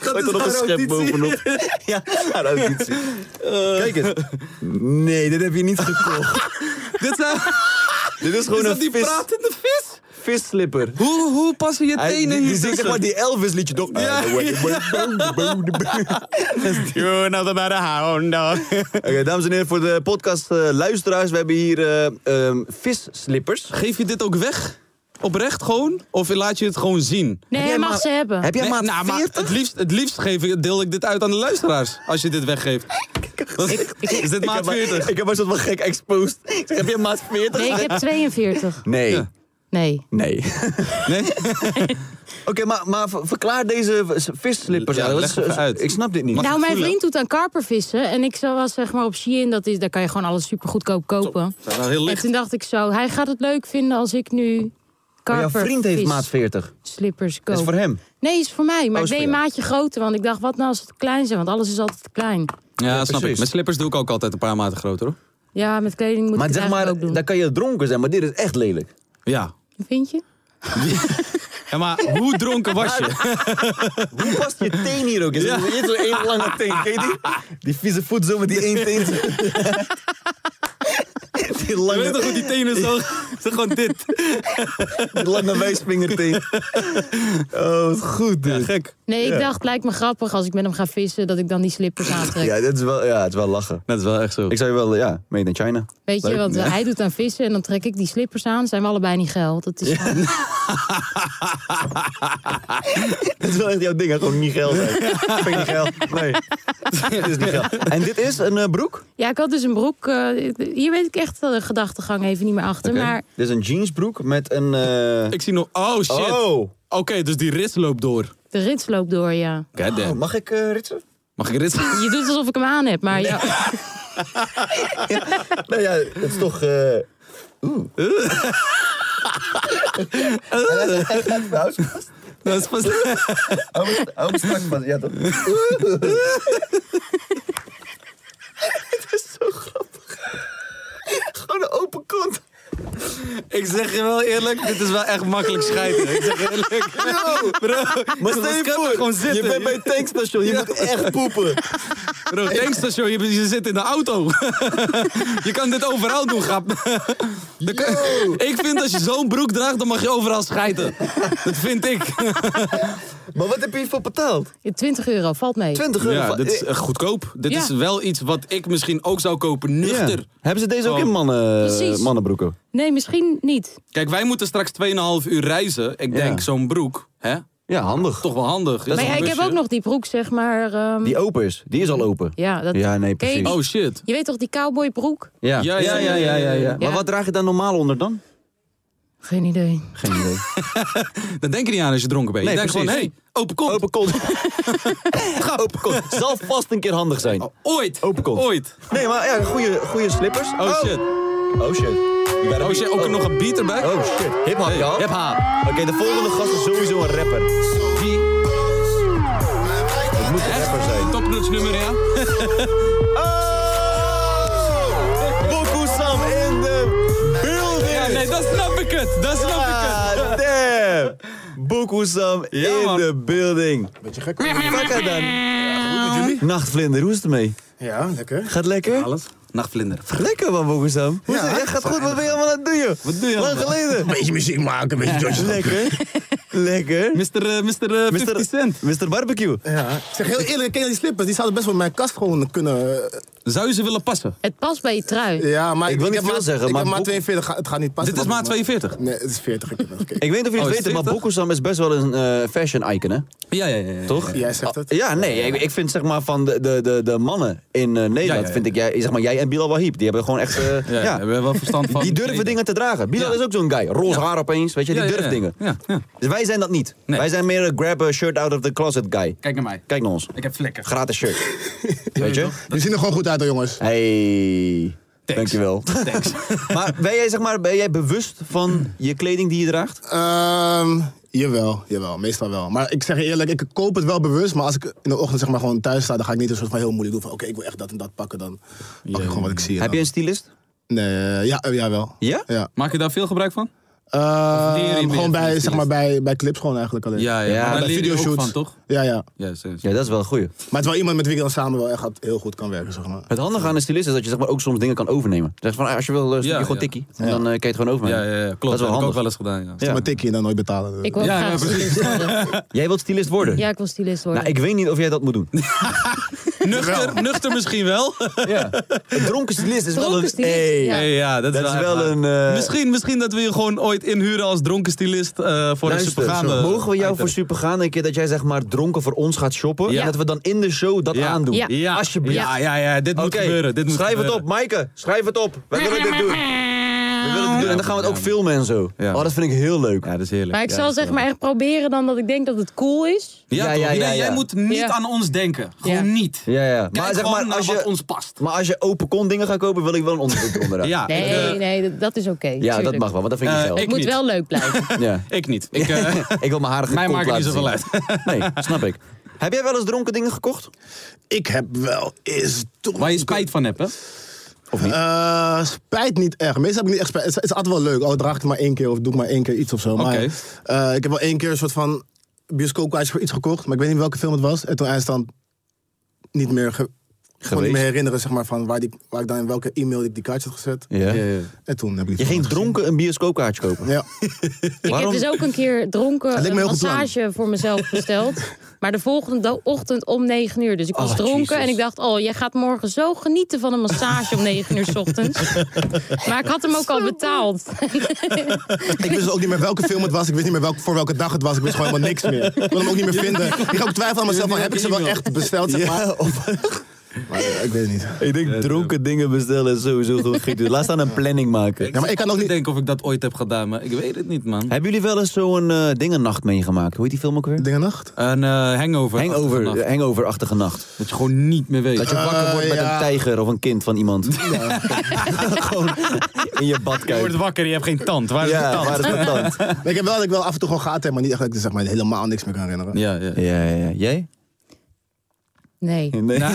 C: Gooit er nog een schep bovenop.
E: <laughs>
C: Ja, haar auditie.
E: Eh.
C: Kijk eens. Nee, dit heb je
E: <laughs>
C: niet gekocht.
D: <laughs> Dit zijn...
C: dit is gewoon
D: Is dat
C: een
D: die
C: vis,
D: pratende vis?
C: visslipper.
D: Hoe, hoe passen je
C: Hij- die,
D: tenen
C: die
D: hier
C: zingt zeg maar
D: tussen?
C: die Elvis liedje toch?
D: Ja. <laughs> You're not about a hound dog.
C: <laughs> Oké, dames en heren, voor de podcast eh, luisteraars. We hebben hier eh, ehm, visslippers.
D: Geef je dit ook weg? Oprecht gewoon? Of laat je het gewoon zien?
E: Nee,
C: jij
E: hij mag
C: maar-
E: ze hebben.
C: Heb jij
D: Nee,
C: maat
D: nou, maar
C: 40?
D: het liefst, het liefst geef ik, deel ik dit uit aan de luisteraars. Als je dit
C: <laughs>
D: weggeeft. is dit maat
C: ik, heb maar,
D: 40?
C: ik heb maar soort van gek exposed. Ik zeg, heb jij maat 40?
E: Nee,
C: <laughs>
E: ik heb 42.
C: Nee.
E: Nee.
C: Nee. <laughs> Oké, maar, maar ver- verklaar deze v- visslippers.
D: Ja,
C: uit. Wat
D: leg
C: is- eh,
D: even uit.
C: Ik snap dit niet.
D: Mag-
E: Nou, mijn
D: voelen?
E: vriend doet aan karpervissen. En ik was zeg maar op Shein, dat is, daar kan je gewoon alles super goedkoop kopen.
D: <laughs> Dat is wel heel
E: En
D: licht.
E: toen dacht ik zo, hij gaat het leuk vinden als ik nu
C: Maar jouw
E: karper
C: vriend heeft maat 40.
E: slippers koop.
C: Dat is voor hem.
E: Nee, is voor mij. Maar
C: Oh,
E: ik
C: is
E: deed een
C: voor jou.
E: maatje groter, want ik dacht, wat nou als het te klein zijn? Want alles is altijd te klein.
D: Ja, snap ik.
C: precies.
D: Met slippers doe ik ook altijd een paar maten groter hoor.
E: Ja, met kleding moet
C: Maar
E: ik het
C: zeg maar,
E: eigenlijk ook doen.
C: dan kan je dronken zijn, maar dit is echt lelijk.
D: Ja.
E: Vind je?
D: <laughs> Ja, maar hoe dronken was <laughs> je?
C: Hoe past je teen hier ook in? Ja. Je hebt zo'n één lange teen, ken je die? Die vieze voet zo met die één <laughs> teen. Die
D: Je weet toch
C: lange,
D: hoe die tenen zo... <laughs> Ze gewoon dit.
C: die lange wijsvingerteen. Oh, wat goed dit. Ja,
D: Gek.
E: Nee, ik dacht, lijkt me grappig als ik met hem ga vissen, dat ik dan die slippers aantrek.
C: dit is wel, ja, het is wel lachen.
D: <laughs> Dat is wel echt zo.
C: Ik zou je wel, ja, made <laughs> in China.
E: Weet je,
C: Leuk.
E: want eh, hij doet aan vissen en dan trek ik die slippers aan. Zijn we allebei niet geil. Dat is gewoon-
C: Dat is wel echt jouw ding, hè? gewoon niet geld. <laughs> hè. Vind je niet geld? Nee. <laughs> Dit is niet geld. En dit is een eh, broek?
E: Ja, ik had dus een broek. eh, hier weet ik echt de gedachtegang even niet meer achter. Maar
C: Dit is een jeansbroek met een... eh,
D: Ik zie nog... Oh, shit.
C: Oh.
D: Oké, dus die rits loopt door.
E: de rits loopt door, ja.
D: Goddamn.
C: Oh, mag ik eh, ritsen?
D: Mag ik rits? <laughs>
E: Je doet alsof ik hem aan heb, maar ja.
C: Nou ja, het is toch... eh, <laughs> Oeh. Hij gaat nou vast.
D: Dat is pas...
C: Hou me- hou me strak vast. Ja, toch? <laughs> Het is zo grappig. Gewoon een open kont.
D: Ik zeg je wel eerlijk, dit is wel echt makkelijk scheiden. Ik zeg je eerlijk. bro, dat
C: Maar stel je
D: kan toch
C: voor,
D: gewoon zitten.
C: je bent bij het tankstation, je
D: Ja.
C: moet echt <laughs> poepen.
D: Bro, tankstation, je, je zit in de auto. <laughs> je kan dit overal doen, grap. Dan kan- ik vind als je zo'n broek draagt, dan mag je overal schijten. Dat vind ik.
C: Maar wat heb je hiervoor betaald?
E: 20 euro, valt mee.
C: 20 euro.
D: <laughs>
C: Eh,
D: Ja, dit is echt goedkoop. Dit
E: Ja.
D: is wel iets wat ik misschien ook zou kopen,
C: Ja.
D: nuchter.
C: Hebben ze deze ook in mannen, eh,
E: Precies.
C: mannenbroeken?
E: Nee, misschien niet.
D: Kijk, wij moeten straks 2,5 uur reizen. Ik denk, zo'n broek, hè?
C: Ja, handig.
D: Toch wel handig.
E: Maar ja, ik heb ook nog die broek, zeg maar. ehm,
C: Die open is, die is al open.
E: ja, dat,
C: Ja, nee,
E: Ken je die?
C: precies.
D: Oh shit.
E: Je weet toch die cowboybroek?
C: Ja.
D: Ja, ja, ja, ja, ja, ja.
C: Maar
E: Ja.
C: wat draag je daar normaal onder dan?
E: Geen idee.
C: Geen idee.
D: Dan denk je niet aan als je dronken bent.
C: Nee,
D: je denkt gewoon, hé,
C: precies.
D: hey, open kont.
C: Open
D: <laughs>
C: kont. Ga open kont. Zal vast een keer handig zijn.
D: Ooit.
C: Open kont.
D: Oh. Ooit.
C: Nee, maar ja, goede, goede slippers.
D: Oh shit.
C: Oh shit.
D: Oh shit, ook nog een beat erbij.
C: Oh shit. Hip hop, ja. Hip hop. Oké, de volgende gast is sowieso een rapper.
D: Die
C: Het moet een rapper zijn.
D: topnotch nummer, ja.
C: <laughs> Oh! Boku Sam in de building.
D: Ja, nee, dat snap ik het. Dat snap ik het.
C: Ah, damn. Boku Sam
D: Ja,
C: in
D: man.
C: de building.
B: Beetje gek. hoor.
C: Kaka dan. Nachtvlinder, hoe is het mee?
B: Ja, lekker.
C: Gaat lekker?
D: Alles. Nachtvlinder.
C: Lekker man, Boku Sam. Hoe is
B: Ja,
C: het? Ja, gaat goed. Wat ben je allemaal aan het doen, joh? Wat
D: doe je
C: Lang
D: allemaal?
C: geleden.
B: Beetje muziek maken, een beetje George.
C: Lekker. Lekker.
D: Mr. eh, Mr. eh, 50 Cent.
C: Mr. Barbecue.
B: Ja. Ik zeg heel eerlijk, ken je die slippers? Die zouden best wel in mijn kast gewoon kunnen... eh,
D: Zou je ze willen passen?
E: Het past bij je trui.
B: Ja, maar
C: Ik wil niet
B: heb
C: veel zeggen,
B: ik
C: maar
B: heb maar
C: boek-
B: 42, ga- het gaat niet passen.
D: Dit is maar 42.
B: Nee, het is 40, ik heb wel gekeken.
C: Ik weet niet of jullie
D: Oh,
C: het
D: is
C: weten,
D: het
C: maar
D: 40?
C: Bokusam is best wel een eh, fashion icon, hè?
D: Ja, ja, ja. ja.
C: Toch?
B: Jij zegt het.
C: Ja, nee, ik, ik vind zeg maar van de, de, de, de mannen in eh, Nederland,
D: Ja, ja, ja.
C: vind ik, jij, zeg maar jij en Bilal Wahib, die hebben gewoon echt, eh,
D: Ja,
C: ja,
D: ja. Hebben we wel verstand van.
C: die durven dingen te dragen. Bilal
D: Ja.
C: is ook zo'n guy, roze haar opeens, weet je, die
D: Ja, ja,
C: durft
D: ja.
C: dingen.
D: Ja, ja.
C: Dus wij zijn dat niet.
D: Nee.
C: Wij zijn meer een grab a shirt out of the closet guy.
D: Kijk naar mij.
C: Kijk naar ons.
D: Ik heb vlekken.
C: Gratis
D: <laughs>
C: shirt. weet <laughs> je?
B: Die zien er gewoon goed uit, hoor, jongens.
C: Hey, dankjewel.
D: Thanks.
C: <laughs> maar ben jij zeg maar, ben jij bewust van je kleding die je draagt?
B: Ehm, jawel, jawel, meestal wel. Maar ik zeg je eerlijk, ik koop het wel bewust. Maar als ik in de ochtend zeg maar gewoon thuis sta, dan ga ik niet een soort van heel moeilijk doen. Van oké, ik wil echt dat en dat pakken. Dan pak ik gewoon wat ik zie. en
C: Heb je
B: dan-
C: een stylist?
B: Nee, ja, eh, jawel.
C: Ja?
B: Ja.
D: Maak je daar veel gebruik van?
B: Ehm,
D: leer je meer van
B: gewoon bij,
D: die
B: zeg maar,
D: stylist?
B: bij, bij clips gewoon eigenlijk alleen.
D: Ja, ja.
C: Ja,
D: maar daar
B: bij
D: leer je ook
B: videoshoots.
D: van, toch?
B: Ja, ja.
D: Ja, zeker.
C: Ja, dat is wel een goeie.
B: Maar het is wel iemand met wie ik dan samen wel echt heel goed kan werken, zeg maar.
C: Het handige aan een stylist is dat je zeg maar, ook soms dingen kan overnemen. Zeg van, ah, als je wil, eh, stukje
D: Ja,
C: gewoon
D: ja.
C: tikkie. En dan eh, kan je het gewoon
D: Ja,
C: overnemen.
D: ja, ja, klopt.
C: Dat is wel
D: heb ik ook
C: handig.
D: wel eens gedaan, ja.
C: Ja.
B: Maar tikkie en dan nooit betalen.
E: Ik wil
D: Ja,
E: graag
D: ja, precies.
E: stylist worden.
C: Jij wilt stylist worden?
E: <laughs> Ja, ik wil stylist worden.
C: Nou, ik weet niet of jij dat moet
D: <laughs>
C: doen.
D: Nuchter, nuchter misschien
C: <laughs>
D: wel.
C: ja. Een dronken stylist is wel
E: Dronken
C: een...
E: stylist,
C: Hey.
E: ja.
D: Hey, ja, dat,
C: Dat is
D: echt
C: wel
D: waar.
C: een, eh,
D: Misschien, misschien dat we je gewoon ooit inhuren als dronken stylist eh, voor
C: Luister,
D: een supergaande...
C: mogen we jou
D: item.
C: voor Supergaan een keer dat jij zeg maar dronken voor ons gaat shoppen?
D: Ja.
C: En dat we dan in de show dat
D: Ja.
C: aandoen?
E: Ja.
D: Ja,
C: Alsjeblieft.
D: Ja, ja, ja, dit moet
C: Oké,
D: gebeuren. Dit moet
C: schrijf het op,
D: gebeuren.
C: Maaike. Schrijf het op. Wij willen dit doen. We willen dit doen. En dan gaan we het ook filmen en zo.
D: Ja.
C: Oh, dat vind ik heel leuk.
D: Ja, dat is heerlijk.
E: maar ik zal zeg maar echt proberen dan dat ik denk dat het cool is.
D: Ja,
C: Ja,
D: toch?
C: ja, ja,
D: nee,
C: ja.
D: jij moet niet
E: Ja.
D: aan ons denken. Gewoon
E: Ja.
D: niet.
C: Ja, ja. Maar
D: Kijk
C: zeg
D: gewoon
C: maar,
D: naar
C: als je-
D: wat ons past.
C: Maar als je open kon dingen gaat kopen, wil ik wel een
F: <laughs>
C: onderbroek onderuit.
D: Ja,
E: Nee,
D: ik, eh,
E: nee, dat, dat is oké.
C: ja dat
E: tuurlijk.
C: mag wel, want dat vind ik
D: Eh,
C: geld.
D: ik-
E: Het moet
D: niet.
E: wel leuk blijven.
C: Ja.
D: ik niet.
F: <laughs>
D: <laughs> Ik, eh,
C: Ik wil mijn haren
D: Mij
C: gekont
D: maakt het niet
C: laten
D: zoveel
C: zien. Nee, snap ik. Heb jij wel eens dronken dingen gekocht?
B: Ik heb wel eens...
D: waar je spijt van hebt, hè?
B: Eh, spijt niet echt. Meestal heb ik niet echt spijt. Het is, het is altijd wel leuk. Oh, draag ik het maar één keer of doe ik maar één keer iets of zo. Maar
D: Oké.
B: eh, ik heb wel één keer een soort van bioscoopkaartje voor iets gekocht. Maar ik weet niet welke film het was. En toen eindstand niet meer ge-
G: Ik kon niet meer herinneren zeg maar, van waar, die, waar ik dan in welke e-mail ik die kaartjes had gezet.
F: Ja.
G: En toen heb ik
F: Je
G: het
F: ging
G: gewoon
F: dronken een bioscoopkaartje kopen.
G: gezien. Ja.
E: Ik heb
F: Waarom?
E: dus ook een keer
G: Het
E: dronken
G: leek
E: een
G: me een heel goed plan.
E: massage voor mezelf besteld. Maar de volgende do- ochtend om 9 uur. Dus ik was
F: Oh,
E: dronken
F: Jesus.
E: en ik dacht, oh, jij gaat morgen zo genieten van een massage om 9 uur 's ochtends. Maar ik had hem ook al betaald.
G: Ik wist dus ook niet meer welke film het was. Ik wist niet meer welk, voor welke dag het was. Ik wist gewoon helemaal niks meer. Ik kon hem ook niet meer vinden. Ik ga ook twijfelen aan mezelf. Van, heb ik ze wel echt besteld? Zeg maar.
D: <laughs>
G: maar ja, ik weet het niet.
H: Ik denk dronken dingen bestellen is sowieso gewoon giet. Laat
D: <laughs>
H: staan een planning maken.
G: Ja, maar ik kan ook
D: Ik
G: niet...
D: denk of ik dat ooit heb gedaan, maar ik weet het niet, man.
F: Hebben jullie wel eens zo'n eh, dingennacht meegemaakt? Hoe heet die film ook weer?
G: Dingenacht?
D: Een eh, hangover.
F: Hangover,
D: Achternacht.
F: eh, hangoverachtige nacht.
D: Dat je gewoon niet meer weet.
F: Dat je wakker wordt
H: Eh,
F: met
G: ja.
F: een tijger of een kind van iemand. <laughs> Gewoon in je bad
D: Je wordt
F: kijken.
D: wakker, je hebt geen tand. Waar is de
F: Ja,
D: tand?
F: waar is mijn tand?
G: Nee, Ik heb wel dat ik wel af en toe gewoon gaten heb, maar niet echt dat ik zeg maar, helemaal niks meer kan
D: <laughs>
G: herinneren.
D: Ja, ja.
F: Ja, ja, ja. Jij?
E: <laughs> Nee.
F: Nee. <laughs>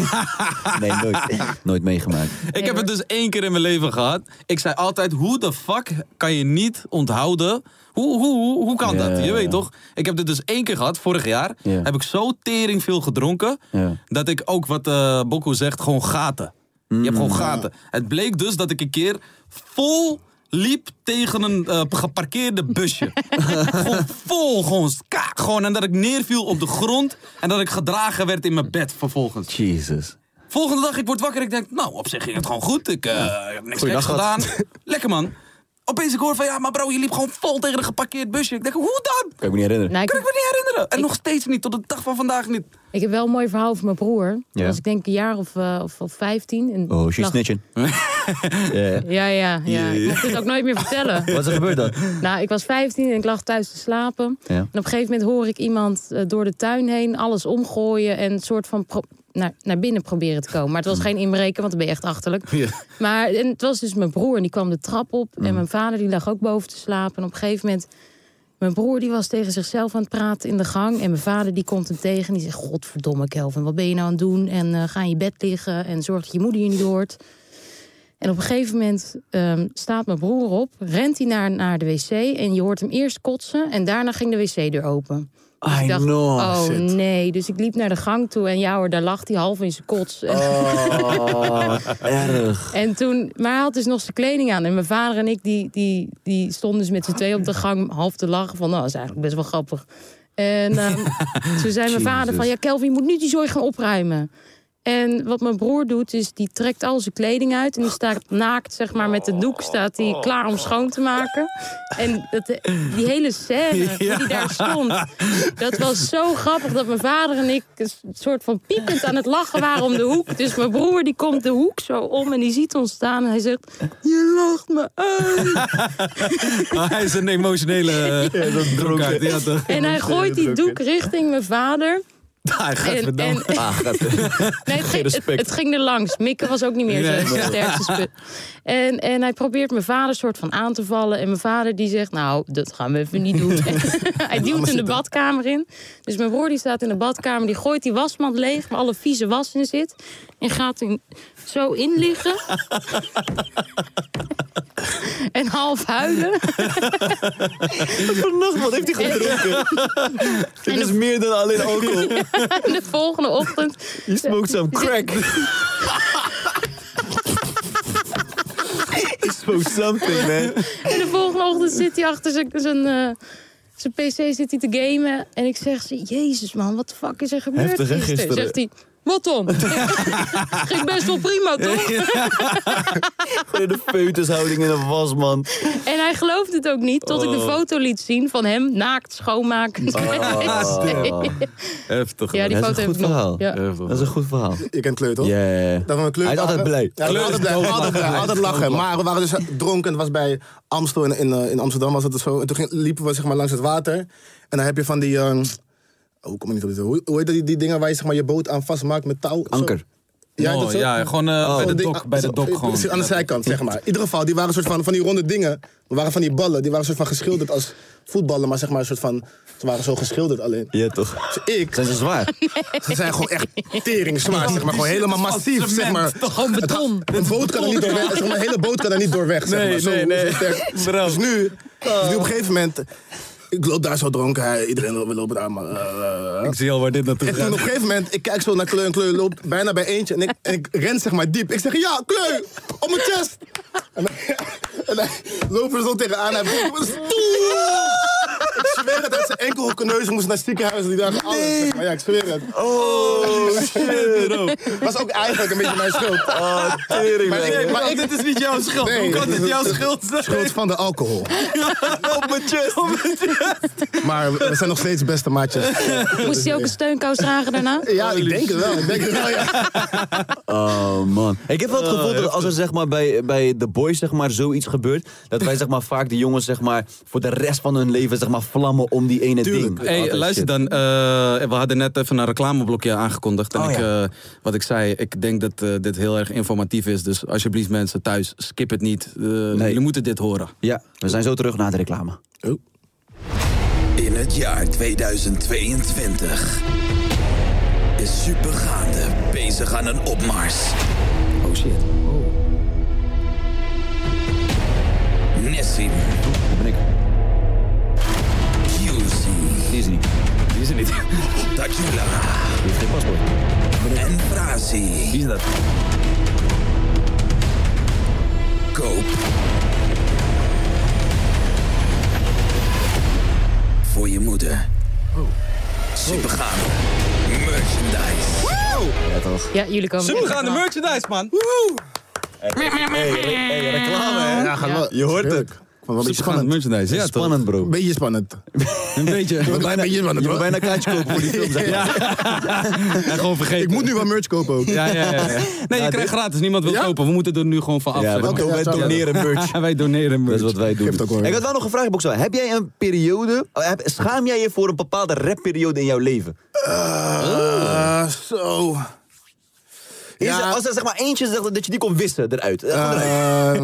F: Nee, nooit. Nooit meegemaakt.
D: Ik heb het dus één keer in mijn leven gehad. Ik zei altijd, hoe de fuck kan je niet onthouden? Hoe, hoe, hoe, hoe kan
F: Ja,
D: dat? Je weet
F: ja.
D: toch? Ik heb dit dus één keer gehad, vorig jaar.
F: Ja.
D: Heb ik zo tering veel gedronken...
F: Ja.
D: dat ik ook, wat eh Bokko zegt, gewoon gaten. Je hebt
F: Mm.
D: gewoon gaten. Het bleek dus dat ik een keer vol liep tegen een eh, geparkeerde
F: <laughs>
D: busje. gewoon vol, gewoon skaak. Gewoon, en dat ik neerviel op de grond... en dat ik gedragen werd in mijn bed vervolgens.
F: Jesus.
D: Volgende dag, ik word wakker. Ik denk, nou, op zich ging het gewoon goed. Ik eh, heb niks geks
F: Goeiedag,
D: gedaan. <laughs> Lekker man. Opeens ik hoor van, ja, maar bro, je liep gewoon vol tegen een geparkeerd busje. Ik denk, hoe dan?
F: Kan ik me niet herinneren.
E: Nou,
D: Kan ik
E: ik,
D: me niet herinneren. En nog steeds niet, tot de dag van vandaag niet.
E: ik heb wel een mooi verhaal van mijn broer. Dat
F: Ja.
E: was ik denk een jaar of, eh, of, of 15. En
F: Oh,
E: ik
F: she's
E: lag-
D: <laughs>
F: snitching. Ja.
E: Ja, ja, ja. Ik mocht dit ook nooit meer
F: <laughs>
E: vertellen.
F: Wat is er gebeurd dan?
E: <laughs> Nou, ik was 15 en ik lag thuis te slapen.
F: Ja.
E: En op een gegeven moment hoor ik iemand eh, door de tuin heen alles omgooien en een soort van pro- naar, naar binnen proberen te komen. Maar het was geen inbreken, want dan ben je echt achterlijk. Maar en het was dus mijn broer en die kwam de trap op. En mijn vader die lag ook boven te slapen. En op een gegeven moment, mijn broer die was tegen zichzelf aan het praten in de gang. En mijn vader die komt hem tegen en die zegt: Godverdomme, Kelvin, wat ben je nou aan het doen? En eh, ga in je bed liggen en zorg dat je moeder je niet hoort. En op een gegeven moment ehm, staat mijn broer op, rent hij naar, naar de wc en je hoort hem eerst kotsen en daarna ging de wc-deur open. Dus
F: I
E: ik dacht,
F: know,
E: oh
F: shit.
E: nee. Dus ik liep naar de gang toe en ja hoor, daar lag hij half in zijn kots. En,
F: Erg.
E: <laughs> en toen, maar hij had dus nog zijn kleding aan. En mijn vader en ik, die, die, die stonden dus met z'n twee op de gang half te lachen. Van, nou, dat is eigenlijk best wel grappig. En ehm, toen zei mijn vader van, ja Kelvin, je moet nu die zooi gaan opruimen. En wat mijn broer doet, is die trekt al zijn kleding uit. En die staat naakt, zeg maar, met de doek staat hij klaar om schoon te maken. En dat, eh, die hele scène, hoe die daar stond. Dat was zo grappig dat mijn vader en ik een soort van piepend aan het lachen waren om de hoek. Dus mijn broer die komt de hoek zo om en die ziet ons staan. En hij zegt, je lacht me uit.
D: Ah, hij is een
E: <laughs>
D: emotionele ja, dat dronkaard. Ja, toch? Ah,
E: En hij gooit die doek richting mijn vader.
D: Hij gaat
E: En,
D: verdomme.
E: en,
F: Ah,
E: Nee, het, ging, het, het ging er langs. Mikke was ook niet meer zijn zijn sterkste spul. En, en hij probeert mijn vader soort van aan te vallen. En mijn vader die zegt, nou, dat gaan we even niet doen. <laughs> hij duwt in de badkamer in. Dus mijn broer die staat in de badkamer. Die gooit die wasmand leeg waar alle vieze was in zit. En gaat hem zo in liggen. en half huilen. <laughs>
H: Vannacht, wat heeft hij gedronken?
E: <laughs>
H: Dit is meer dan alleen alcohol.
E: En de volgende ochtend
H: He smoked some
E: <laughs>
H: crack. He smoked something, man.
E: En de volgende ochtend zit hij achter zijn, zijn, eh, zijn pc zit hij te gamen. En ik zeg, ze, jezus man, wat de fuck is er gebeurd
H: Heftig, hè,
E: gisteren?
H: gisteren?
E: Zegt hij,
D: <laughs>
E: wat dan? Ging best wel prima, toch?
H: Gewoon in de feutushouding in een wasman.
E: En hij geloofde het ook niet, tot ik
D: Oh.
E: de foto liet zien van hem naakt schoonmaken.
D: Oh. Heftig.
E: Ja, die
F: Dat is
E: foto
F: een goed
E: heb ik nog.
F: verhaal.
E: Ja.
F: Dat is een goed verhaal.
G: Je kent Kleur, toch?
F: Ja, ja, ja.
G: Dat we met Kleur
F: Hij is altijd
G: waren.
F: blij.
G: Ja, we waren altijd blij. Altijd, blij, altijd lachen. Maar we waren dus dronken. Het was bij Amstel in, in, eh, in Amsterdam was het zo. En toen ging- liepen we zeg maar, langs het water. En dan heb je van die... ehm, oh, kom ik niet op dit. Hoe, hoe heet dat, die, die dingen waar je zeg maar, je boot aan vastmaakt met touw? Zo-
F: Anker.
G: Ja,
D: Oh,
G: dat zo?
D: ja, gewoon eh, bij de
G: Zo'n ding-
D: dok. Bij de
G: zo-
D: dok gewoon.
G: precies Aan de zijkant, zeg maar. In ieder geval, die waren soort van, van die ronde dingen. We waren van die ballen. Die waren soort van geschilderd als voetballen. Maar zeg maar, soort van, ze waren zo geschilderd alleen.
F: Ja, toch?
G: Dus ik,
F: Zijn ze
E: <laughs>
F: zwaar?
G: ze zijn gewoon echt tering zwaar, zeg
D: <laughs>
G: maar. Gewoon helemaal massief, zeg maar.
D: Gewoon beton.
G: Een boot kan er niet door
D: <laughs>
G: weg. Zeg maar, een hele boot kan er niet door weg, zeg
D: Nee,
G: maar.
D: <laughs>
G: Zo,
D: nee, nee.
G: zo sterk.
D: Bro.
G: Dus nu, dus nu op een gegeven moment... Ik loop daar zo dronken, hij- iedereen wil lopen daar, maar... eh, eh.
D: Ik zie al waar dit naartoe
G: En toen
D: gaat.
G: op een gegeven moment, ik kijk zo naar Kleu en Kleu loopt bijna bij eentje. En ik, en ik ren zeg maar diep. Ik zeg, ja, Kleu, op mijn chest. En, hij- en hij loopt er zo tegenaan. Hij begint met een stoel. Ik zweer het, uit zijn enkel kneuzen moest naar het ziekenhuis die dag. Nee. Maar ja, ik zweer het.
C: Oh, shit.
G: was ook eigenlijk een beetje mijn <laughs> schuld.
C: Oh, tering,
G: Maar ik-
C: man.
G: maar ik-
D: dit is niet jouw schuld.
G: Nee,
D: Hoe kan
G: dit
D: dit
G: is-
D: jouw schuld zijn?
C: <laughs>
G: Schuld van de alcohol.
C: Op mijn chest.
G: Maar we zijn nog steeds beste maatjes.
E: <laughs>
C: <laughs>
E: Moest hij ook een steunkous dragen daarna?
G: Ja, ik denk het wel. Ik denk het wel, ja.
C: Oh man. Ik heb wel het gevoel dat als er zeg maar, bij, bij de boys zeg maar, zoiets gebeurt, dat wij zeg maar, vaak de jongens zeg maar, voor de rest van hun leven zeg maar, vlammen om die ene ding.
D: Hey,
C: Altijd
D: luister dan.
C: shit.
D: eh, we hadden net even een reclameblokje aangekondigd. En
C: Oh,
D: ik,
C: ja.
D: eh, wat ik zei, ik denk dat eh, dit heel erg informatief is. Dus alsjeblieft mensen thuis, skip het niet. Eh, Jullie moeten dit horen.
C: Ja, we zijn zo terug naar de reclame.
B: In het jaar 2022 is Supergaande bezig aan een opmars. Oh shit. Nessim.
C: ben ik.
B: QC.
C: Die is er niet.
B: Die is er niet. Tajula.
C: Die heeft geen paspoort.
B: En Frazi.
C: Wie is dat?
B: Koop. Voor je moeder. Oh. Supergaande. Merchandise.
E: Ja, jullie komen.
D: Supergaande merchandise, man.
C: reclame, hè?
G: Ja, gaat wel.
C: Je hoort het.
G: Heerlijk. Ik vond het wel een beetje
D: Supergaande
G: spannend.
D: merchandise, ja toch?
C: Spannend, bro.
G: Beetje spannend.
D: Een beetje.
G: Bijna, beetje spannend,
C: Je moet
G: hoor.
C: bijna een kaartje kopen voor die film.
G: <laughs>
C: Zeg maar.
D: En gewoon vergeten.
G: Ik moet nu wel merch kopen ook.
D: Ja, ja,
C: <laughs>
D: ja. ja. Nee, je krijgt gratis. Niemand wil
G: Ja?
D: kopen. We moeten er nu gewoon van af.
C: Ja,
D: zeg
C: wij
D: maar.
C: doen- wij
G: Ja,
C: doneren merch.
D: <laughs> Wij doneren
C: Dat is
D: merch.
C: wat wij doen.
G: Geeft ook wel weer.
C: ik had wel nog een vraag, Boxel. Heb jij een periode, oh, heb- schaam jij je voor een bepaalde rapperiode in jouw leven?
G: Eh, Zo.
C: Is
G: Ja.
C: er- als er zeg maar eentje zegt dat je die kon wissen eruit. Eh, gewoon eruit. <laughs>
G: Ehm,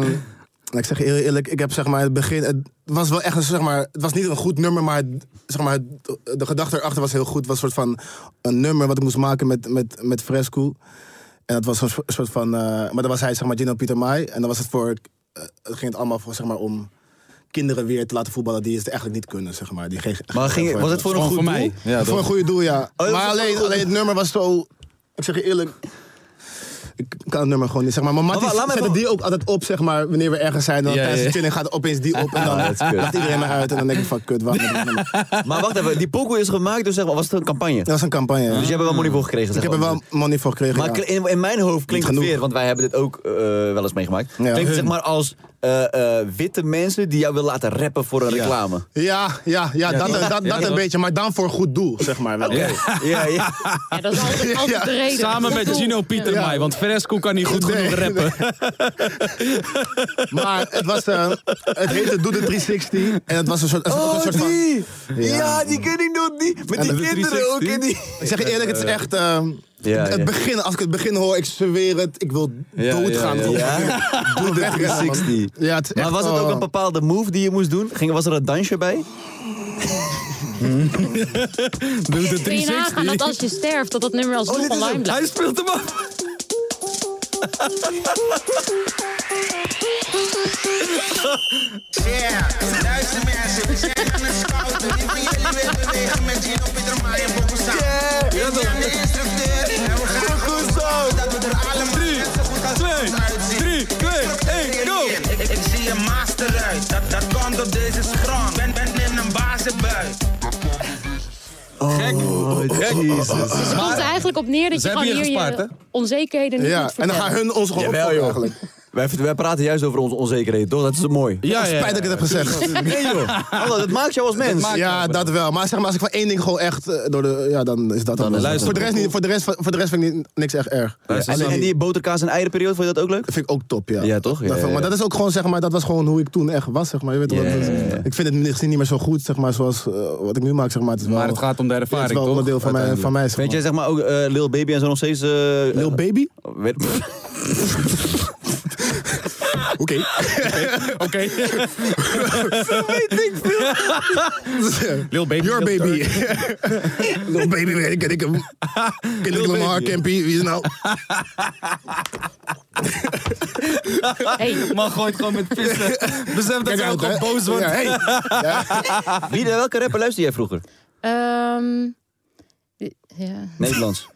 G: nou, ik zeg je heel eerlijk, ik heb zeg maar het begin. Het was wel echt een, zeg maar, het was niet een goed nummer, maar, het- zeg maar het- de gedachte erachter was heel goed. Het was een soort van een nummer wat ik moest maken met, met, met Fresco. En dat was een soort- soort van. eh, maar dan was hij, zeg maar, Gino Pieter Mai. En dan was het voor. eh, het ging het allemaal voor, zeg maar, om kinderen weer te laten voetballen die het eigenlijk niet kunnen, zeg maar. Die geen,
C: Maar ging, was het voor een goed
D: voor mij.
C: doel?
D: Ja,
G: voor een goede doel, ja.
C: dat was
G: maar
C: een
G: alleen,
C: goed
G: alleen het nummer was zo. Ik zeg je eerlijk. Ik kan het nummer gewoon niet, zeg maar. Maar Mattie
C: wa- Oh, laat me
G: zette
C: even-
G: die ook altijd op, zeg maar, wanneer we ergens zijn. Dan
D: Ja,
G: tijdens
D: ja.
G: de chilling gaat opeens die op en
C: <laughs>
G: dan
C: dat is kut.
G: lacht iedereen maar uit. En dan denk ik van, kut, waarom heb ik dit nummer?
C: <laughs> Maar wacht even, die pokoe is gemaakt, dus zeg maar, was het een campagne?
G: Dat was een campagne. ja.
C: Dus je hebt er wel money voor gekregen, zeg
G: ik heb er
C: maar.
G: wel money voor gekregen,
C: Maar
G: ja.
C: kl- in, in mijn hoofd klinkt het
G: genoeg.
C: weer, want wij hebben dit ook eh, wel eens meegemaakt.
G: Ja.
C: Klinkt het zeg
G: Hun.
C: maar als eh, eh, witte mensen die jou willen laten rappen voor een reclame.
G: Ja, ja, ja, dat, dat, dat
D: Ja,
G: een
D: toch?
G: beetje. Maar dan voor een goed doel, zeg maar.
E: <laughs>
G: Wel.
C: Ja,
D: <laughs>
C: ja.
E: Ja, dat is altijd, altijd de reden.
D: Samen met Gino Pieter Mai, want Fresco kan niet goed genoeg
G: Nee,
D: rappen.
E: <laughs>
G: Maar het was, eh, het heette Doe de 360. En het was een soort, het was ook een soort van...
C: Ja. Oh, die ken ik nog niet. Met
G: de
C: die kinderen ook.
D: 360?
C: En die...
G: Ik zeg je eerlijk, het is echt. eh,
C: Ja,
G: het
C: ja.
G: begin, als ik het begin hoor, ik zweer het, ik wil doodgaan.
D: ja,
G: van-
C: Ja?
G: <laughs>
C: oh. Doe de
G: Wegrennen, man.
C: 360.
G: Ja, het is
C: Maar
G: echt,
C: was het ook
G: eh,
C: een bepaalde move die je moest doen? Ging, was er een dansje
D: <laughs>
C: bij?
D: Doe de
E: Kun je nagaan dat
D: 360.
E: als je sterft, dat dat nummer
G: Oh,
C: Oh,
E: alsnog
D: dit is
E: online
D: hem.
E: blijft?
D: Hij speelt hem af.
I: Yeah, luister mensen, we zijn aan het scouten. Wie van jullie wil bewegen met Gino, Pieter, Maai en Bokusa?
D: Ja,
I: Ik
D: toch?
I: ben de instructeur en we gaan goed zo. Dat we er allemaal net zo goed als ons uitzien.
D: 3, 2, 1, go!
I: Ik, ik zie een master uit, dat, dat komt op deze sprong. Ben, ben in een bazenbui.
E: Dus het komt er eigenlijk op neer dat
D: Ze
E: je gewoon
D: hebben
E: hier
D: je
E: je
D: gespaard,
E: onzekerheden niet
G: Ja,
E: moet
G: en dan
E: vertellen.
G: gaan hun ons gewoon
C: Jawel,
G: opfokken
C: joh.
G: eigenlijk.
C: Wij, wij praten juist over onze onzekerheden, toch? Dat is mooi.
D: Ja, ja,
G: Spijt dat ik het heb gezegd.
C: <laughs> Nee
D: <laughs>
C: joh, Hallo, dat maakt jou als mens.
G: Ja, dat wel. Maar zeg maar, als ik van één ding gewoon echt eh, door de... Ja, dan is dat dan
D: is
G: wel.
D: het
G: Voor de rest niet- Voor de rest voor de rest vind ik niet- niks echt erg.
D: Luister,
C: en,
D: Sammy.
C: en die boterkaas en eierenperiode, vond je dat ook leuk?
G: Dat vind ik ook top, ja.
C: Ja, toch? Ja,
G: Dat vind ik-
C: ja, ja.
G: Maar dat is ook gewoon, zeg maar, dat was gewoon hoe ik toen echt was, zeg maar. Je weet toch,
C: Ja,
G: dat is-
C: ja, ja.
G: Ik vind het misschien niet meer zo goed, zeg maar, zoals eh, wat ik nu maak, zeg maar. Het is wel,
D: Maar het gaat om de ervaring,
G: Het is wel
D: toch?
G: onderdeel van mij, van mij zeg
C: Weet jij zeg maar ook eh, Lil Baby en zo nog steeds... eh
G: maar. Lil Baby?
D: <laughs>
C: weet-
G: Oké.
C: <laughs>
D: Oké.
E: <laughs>
D: <laughs> Lil Baby.
G: Your
D: Lil
G: baby. Little baby, weet ik, ken ik hem. Ken ik Lamar, Campy, wie is het nou?
E: Hey,
D: Man gooit Oh, gewoon met pissen. Besef dat hij ook gewoon boos wordt.
G: Ja, hey. ja.
C: Wie, welke rapper luister jij vroeger?
E: ehm, ja.
C: Nederlands.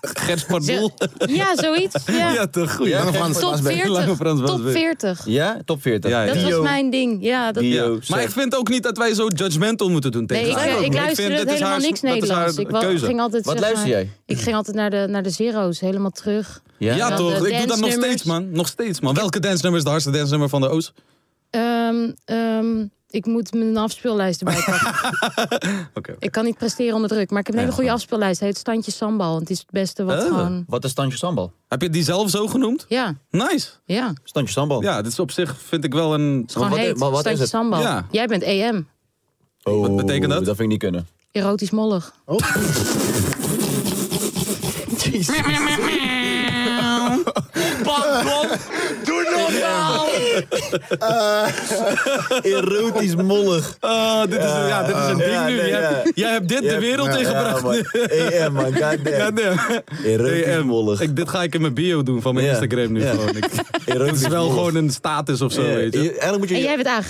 D: Gert Pardoel.
E: ja, zoiets. Ja.
D: Ja, te goed.
G: Lange Frans
E: Top
G: was bij-
E: 40.
D: Lange Frans was
E: Top
D: bij-
E: 40.
C: Ja? Top 40.
D: Ja, ja.
E: Dat was
C: Dio.
E: mijn ding. Ja, dat...
C: Dio.
D: Maar ik vind ook niet dat wij zo judgmental moeten doen tegen
E: Nee, ik,
D: haar.
E: eh, ik luisterde
D: vind, dit is
E: helemaal
D: haar-
E: niks
D: dat is haar
E: Nederlands. Ik wa-
D: keuze.
E: ging altijd,
C: Wat
E: zeg maar,
C: luister jij?
E: Ik ging altijd naar de, naar de zero's, helemaal terug.
C: Ja,
D: Ja,
E: Dan de
D: toch? Ik doe dat nog
E: dansnummers.
D: steeds, man. Nog steeds, man. Welke dansnummer is de hardste dansnummer van de Oost?
E: Ehm, ehm, ik moet mijn afspeellijst erbij pakken.
D: Oké.
E: Ik kan niet presteren onder druk, maar ik heb een hele goede afspeellijst. Het heet Standje Sambal. Het is het beste wat gewoon...
C: Wat is Standje Sambal?
D: Heb je die zelf zo genoemd?
E: Ja,
D: Nice.
E: ja.
C: Standje Sambal.
D: Ja, dit is op zich vind ik wel een...
E: Gewoon
C: wat-
E: heet.
C: maar wat is
E: Standje
C: het?
E: Sambal.
D: Ja.
E: Jij bent EM.
C: Oh,
D: Wat betekent dat?
C: Dat vind ik niet
D: <laughs>
C: kunnen.
E: Erotisch mollig.
C: Erotisch <laughs> mollig.
D: Ah, dit is, ja, dit is een ding
C: ja,
D: nu.
C: nee,
D: jij,
C: ja.
D: hebt, jij hebt dit de wereld ingebracht.
C: man.
D: <laughs>
C: EM, man.
D: Ja,
C: Goddamn.
D: nee.
C: Erotisch
D: Hey, eh,
C: mollig.
D: Ik, dit ga ik in mijn bio doen van mijn
C: Ja.
D: Instagram nu
C: Ja.
D: gewoon. Ik,
C: <laughs>
D: het
C: Erotisch
D: is wel
C: mollig.
D: gewoon een status of zo,
C: Ja,
D: weet je.
C: je- Eigenlijk moet je...
E: En jij bent AG,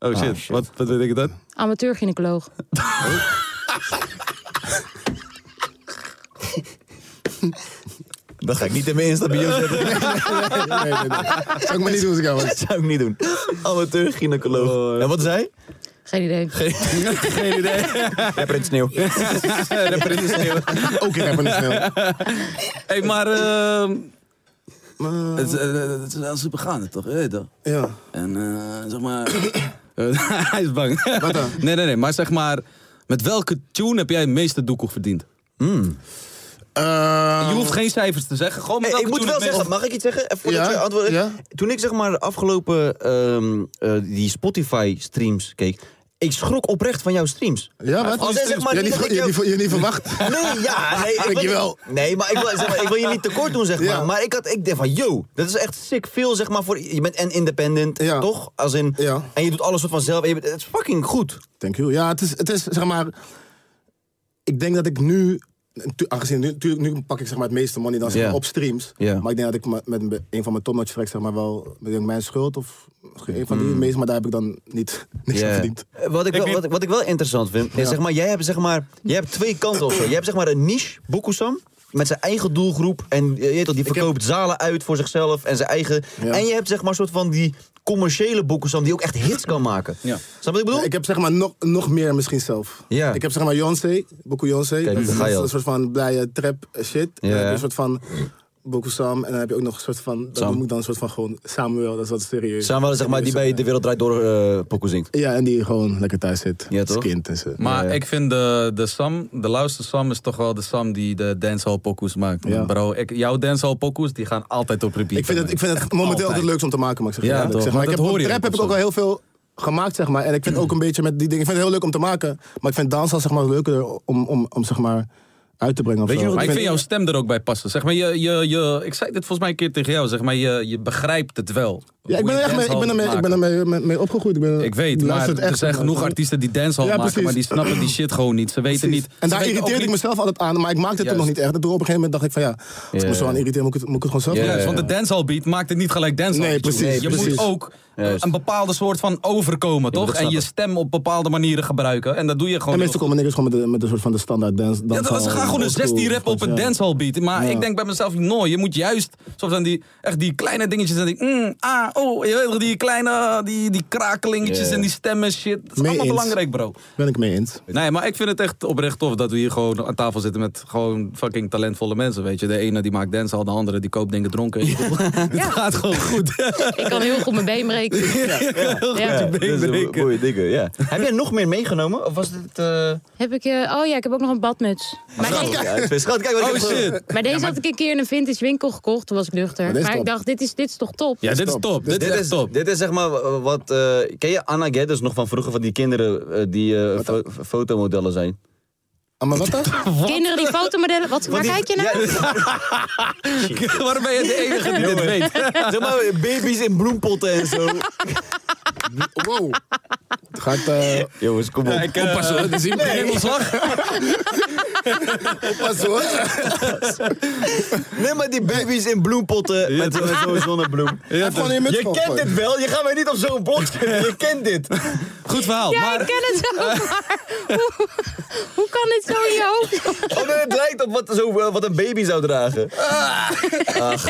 D: Oh shit,
C: shit.
D: Wat, wat weet ik dat? <laughs>
E: amateurgynaecoloog.
C: Dat ga ik niet in
D: <laughs>
C: mijn Insta-bio zetten.
G: Nee, nee, nee. Zou ik maar niet doen als ik jou was.
C: Dat zou ik niet doen. Amateur gynaecoloog.
D: Oh,
C: En wat
D: <laughs>
C: zei?
E: Geen idee.
D: Geen
C: <laughs>
D: idee.
C: Rapper in het
D: <laughs>
C: sneeuw.
D: Rapper in de sneeuw.
G: Ook in rapper in de sneeuw.
D: hey, maar... ehm, het, is- eh, het is wel super gaande, toch? Je weet toch?
G: Ja.
D: En eh, zeg maar... Eh, <coughs> Hij is bang. nee, nee, nee. Maar zeg maar... Met welke tune heb jij het meeste doekoe verdiend?
G: Eh,
D: Je hoeft geen cijfers te zeggen. Gewoon met
C: Hey, ik
D: welke
C: moet
D: tune
C: wel
D: het meest-
C: zeggen, mag ik iets zeggen? Eh, Voordat
G: Ja,
C: je antwoordt.
G: ja.
C: Toen ik zeg maar de afgelopen ehm, eh, die Spotify streams keek, ik schrok oprecht van jouw streams.
G: ja, wat?
C: Als jij zeg maar
G: je,
C: niet
G: niet,
C: dat ik
G: je,
C: jou-
G: niet, je niet verwacht.
C: Nee, ja,
G: <laughs>
C: nee. ik wil-
G: Dankjewel.
C: Nee, maar ik, wil, zeg maar ik wil je niet tekort doen, zeg maar.
G: Ja.
C: Maar ik, had, ik dacht van, yo, dat is echt sick veel, zeg maar, voor... Je bent en independent,
G: Ja.
C: toch? Als in,
G: Ja.
C: En je doet alles soort van zelf. en je bent- het is fucking goed.
G: Thank you. Ja, het is, het is zeg maar. Ik denk dat ik nu. tu- Aangezien nu, natuurlijk nu pak ik zeg maar het meeste money dan zeg maar,
C: Ja.
G: op streams.
C: Ja.
G: Maar ik denk dat ik me- met een- een van mijn topnotch tracks zeg maar wel. met een Mijn schuld of misschien een van die meest, maar daar heb ik dan niet <laughs> niks aan
C: Mm. Ja.
G: verdiend.
C: Eh, Wat ik, wel, wat, ik- wat ik wel interessant vind, is zeg maar, jij hebt zeg maar, jij hebt twee kanten of zo. Jij hebt zeg maar een niche, Bokusam, met zijn eigen doelgroep en eh, je weet toch, die verkoopt zalen uit voor zichzelf en zijn eigen.
G: Ja.
C: En je hebt zeg maar een soort van die commerciële Bokusam die ook echt hits kan maken.
D: Ja.
C: Snap je wat ik bedoel?
G: Ik heb zeg maar nog, nog meer misschien zelf.
C: Ja.
G: Ik heb zeg maar Beyoncé, Boku Beyoncé. Dat,
C: daar
G: is-
C: ga je
G: dat is
C: al.
G: een soort van blije trap shit.
C: Ja.
G: En dan heb je een soort van Boku Sam. En dan heb je ook nog een soort van, dat
C: Sam.
G: noem ik dan een soort van gewoon Samuel. Dat is wat serieus.
C: Zijn wel zeg maar die bij De Wereld Draait Door eh pokoe zingt.
G: Ja, en die gewoon lekker thuis zit.
C: Ja,
G: Als
C: toch?
G: kind en zo.
D: Maar ik vind de, de Sam, de lauwste Sam is toch wel de Sam die de dancehall pokoes maakt.
G: Ja.
D: Bro, ik, jouw dancehall pokoes die gaan altijd op repeat.
G: Ik vind het, ik vind het
D: Echt
G: momenteel altijd
D: altijd.
G: leuk om te maken, maar ik zeg je
D: Ja,
G: eerlijk,
D: toch?
G: zeg maar.
D: Want
G: Ik heb,
D: dat
G: op
D: hoor je
G: rap
D: ook
G: heb ik
D: of
G: ook
D: zo.
G: al heel veel gemaakt, zeg maar. En ik vind ook een beetje met die dingen... Ik vind het heel leuk om te maken, maar ik vind dansen zeg maar leuker om, om, om zeg maar uit te brengen of zo.
D: Maar ik vind jouw stem er ook bij passen. Zeg maar, je, je, je, ik zei dit volgens mij een keer tegen jou. Zeg maar, je, je begrijpt het wel.
G: Ja, ik
D: Hoe
G: ben er
D: je
G: echt mee, ik ben
D: dancehall
G: er mee,
D: maakt.
G: ik ben er mee, mee- mee opgegroeid. Ik, ben,
D: Ik weet, maar
G: luister het
D: er
G: echt,
D: zijn
G: zeg
D: genoeg
G: maar.
D: artiesten die dancehall
G: Ja,
D: maken,
G: precies.
D: maar die snappen die shit gewoon niet. Ze weten niet.
G: En
D: ze
G: daar
D: weten ook
G: irriteerde ik
D: niet-
G: mezelf altijd aan, maar ik maakte het toen nog niet echt. En toen op een gegeven moment dacht ik van ja, als ik me zo aan irriteer, moet ik het, moet ik het gewoon zelf doen.
D: Juist, want de dancehall beat maakt het niet gelijk dancehall.
G: Nee, precies,
D: Je moet
G: precies.
D: ook een bepaalde soort van overkomen, toch? En je stem op bepaalde manieren gebruiken. En dat doe je gewoon.
G: En
D: heel
G: meestal komen niks gewoon met, de, met een soort van de standaard dance.
D: Ja, dat was, ze gaan gewoon een 16 rap op een dancehall beat. Maar ik denk bij mezelf, no, je moet juist soms aan die, echt die kleine dingetjes. En die, mm, ah, oh, je weet toch, die kleine, die, die krakelingetjes en die stemmen en shit. Dat is
G: Mee
D: allemaal
G: eens.
D: belangrijk, bro.
G: Ben ik mee eens.
D: Nee, maar ik vind het echt oprecht tof dat we hier gewoon aan tafel zitten met gewoon fucking talentvolle mensen, weet je. De ene die maakt dancehall, de andere die koopt dingen dronken. Ik bedoel, <laughs> Het gaat gewoon goed. <laughs>
E: Ik kan heel goed mijn been breken. Ja.
D: je been
C: dat is een
D: breken.
C: mooie dikke, ja. <laughs> Heb jij nog meer meegenomen? Of was dit... eh
E: Heb ik, eh, oh ja, ik heb ook nog een badmuts. Maar deze-
C: Ja, het is- Schat, kijk wat ik
D: Oh
C: heb ge-
D: shit.
E: Maar deze had ik een keer in een vintage winkel gekocht. Toen was ik nuchter.
G: dit
E: Maar,
G: is
E: ik
G: top.
E: dacht, dit is, dit is toch top?
D: Ja, dit is
G: top.
D: top. Dit is
C: Dit
D: echt
C: is,
D: top.
C: dit is zeg maar w- wat. eh, ken je Anna Geddes nog van vroeger van die kinderen eh, die eh, fo- f- fotomodellen zijn?
G: Ah, Maar wat dan?
E: Kinderen die fotomodellen... Wat, waar kijk je
C: <laughs>
E: naar?
D: <laughs> Waarom ben je de enige die dit weet?
C: zeg maar baby's in bloempotten en zo.
G: <laughs> Wow. Het Gaat, eh,
C: Jongens, kom op.
D: eh, <laughs>
G: <laughs>
D: Oppassen, hoor. dit is hier helemaal slag.
G: Pas hoor.
H: Nee, maar die baby's in bloempotten met zo- met zo'n zonnebloem.
G: Heb gewoon je muts
J: Je kent dit wel, je gaat mij niet op zo'n bot zetten. Je kent dit.
D: Goed verhaal.
E: Ja,
D: maar
E: ik ken het wel, maar hoe, hoe kan dit zo in je hoofd?
C: Oh
J: Omdat het lijkt op wat, zo, eh, wat een baby zou dragen.
C: Ah,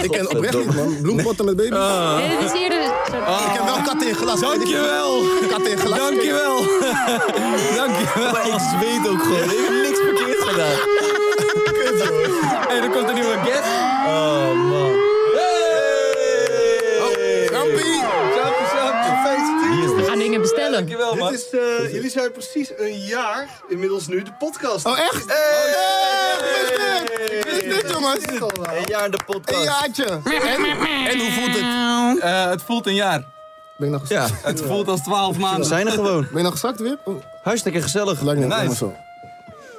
G: Ik ken oprecht niet, man. Bloempotten met baby's.
D: Ah.
E: Nee, dit is eerder... Sorry.
G: Ik heb wel katten in glas.
D: Dankjewel.
G: Katten in glas.
D: Dankjewel. <laughs> Dankjewel.
H: Maar ik zweet ook gewoon. Ik heb niks verkeerd gedaan.
D: <laughs> Hey, er komt een nieuwe guest.
G: Kampie.
E: We gaan dingen bestellen.
J: Dankjewel, man.
C: Dit is, eh, jullie zijn precies een jaar inmiddels nu de podcast.
G: Oh, echt? Hey, Ik wist dit. Ik wist dit, jongens.
H: Een jaar in de
G: Een
H: podcast.
G: jaartje. En, en hoe voelt het?
D: Eh, het voelt een jaar.
G: Ben ik nog
D: Ja,
G: gezakt?
D: het voelt als 12
H: We
D: maanden.
H: zijn er gewoon.
G: Ben je nog gezakt weer? Oh,
H: Hartstikke gezellig.
G: lijkt me
D: Nice.
G: nice. zo.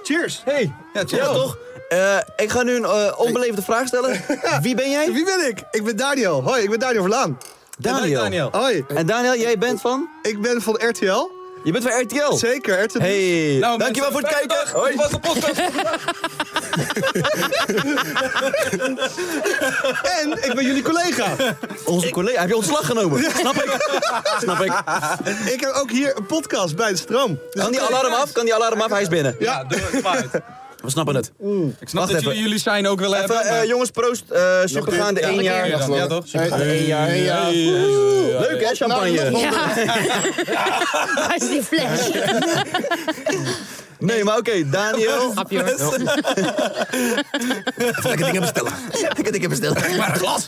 J: Cheers.
H: Hey,
D: Ja, chill.
H: ja toch? Eh, ik ga nu een eh, onbeleefde vraag
C: <laughs>
H: stellen. Wie ben jij?
C: Wie ben ik? Ik ben Daniel. Hoi, ik ben Daniel Verlaan.
D: Daniel.
H: Daniel.
C: Hoi,
H: En Daniel, jij bent van?
C: ik ben van RTL.
H: Je bent van RTL.
C: Zeker, RTL.
H: Hey,
D: Nou,
H: dankjewel voor
D: mensen,
H: het
D: fijne
H: kijken.
D: dag. Dit was de podcast.
C: <laughs> En ik ben jullie collega.
H: Onze collega, heb je ontslag genomen? Snap ik. Snap ik.
C: <laughs> Ik heb ook hier een podcast bij de stroom. Dus
H: Kan die alarm af? Kan die alarm af? Hij is binnen.
D: Ja, doe het maar uit.
H: We snappen het.
D: Ik snap
H: Wacht
D: dat jullie
H: even.
D: jullie shine ook willen
H: Even,
D: hebben.
H: eh,
D: maar-
H: jongens, proost. Eh supergaande
G: Nog
H: één
G: een keer.
H: jaar.
G: Ja,
D: Ja, toch?
G: Hey, hey, ja, hey, ja.
C: Nou,
G: Nou,
H: Leuk hè, champagne?
E: Waar is die fles?
H: Nee, maar oké, Daniel.
E: Grapje hoor.
F: Lekker dingen bestellen.
D: <laughs>
F: Lekker dingen bestellen. Maar een glas.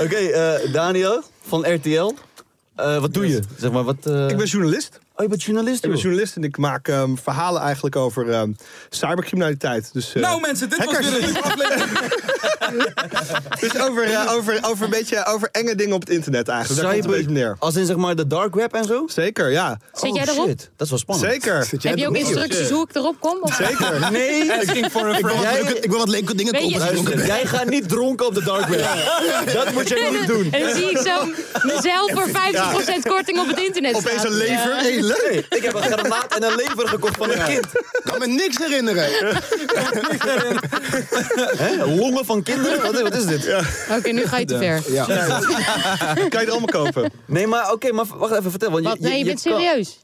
H: <laughs> Oké, eh, Daniel van RTL. Eh, wat doe je? Zeg maar, wat... eh,
C: Ik ben journalist.
H: Oh, je bent journalist,
C: Ik ben
H: joh.
C: journalist en ik maak ehm, verhalen eigenlijk over ehm, cybercriminaliteit. Dus, eh,
D: Nou mensen, dit was
C: hackers.
D: weer een nieuwe aflevering.
C: <laughs> Dus over, eh, over, over, een beetje, over enge dingen op het internet eigenlijk. Daar komt het een beetje neer.
H: Als in zeg maar de dark web en zo?
C: Zeker, ja.
E: Zit
H: Oh,
E: jij erop?
H: Shit, dat is wel spannend. <laughs>
C: Zeker.
E: Heb je ook instructies hoe ik erop kom? Of-
C: Zeker.
H: Nee,
D: Asking for a
G: Ik wil
D: friend.
G: wat leuke- Ik wil wat leuke dingen
E: Weet je-
G: opzoeken.
H: luister, jij gaat niet dronken op de dark
C: <laughs>
H: web. Dat moet je niet doen.
E: En dan zie ik zo mezelf voor 50% korting op het internet
C: Opeens
E: staan.
C: een lever.
E: Ja.
C: Hey, leuk.
H: Nee, ik heb een granaat en een lever gekocht van een kind.
G: Ik kan me niks herinneren.
H: Hè? Longen van kinderen? Wat, wat is dit?
E: Oké, nu ga je te ver.
G: Ja.
C: Kan je het allemaal kopen?
H: Nee, maar oké, maar v- wacht even, vertel. Want je,
E: Wat? Nee, je bent
H: kan-
E: serieus.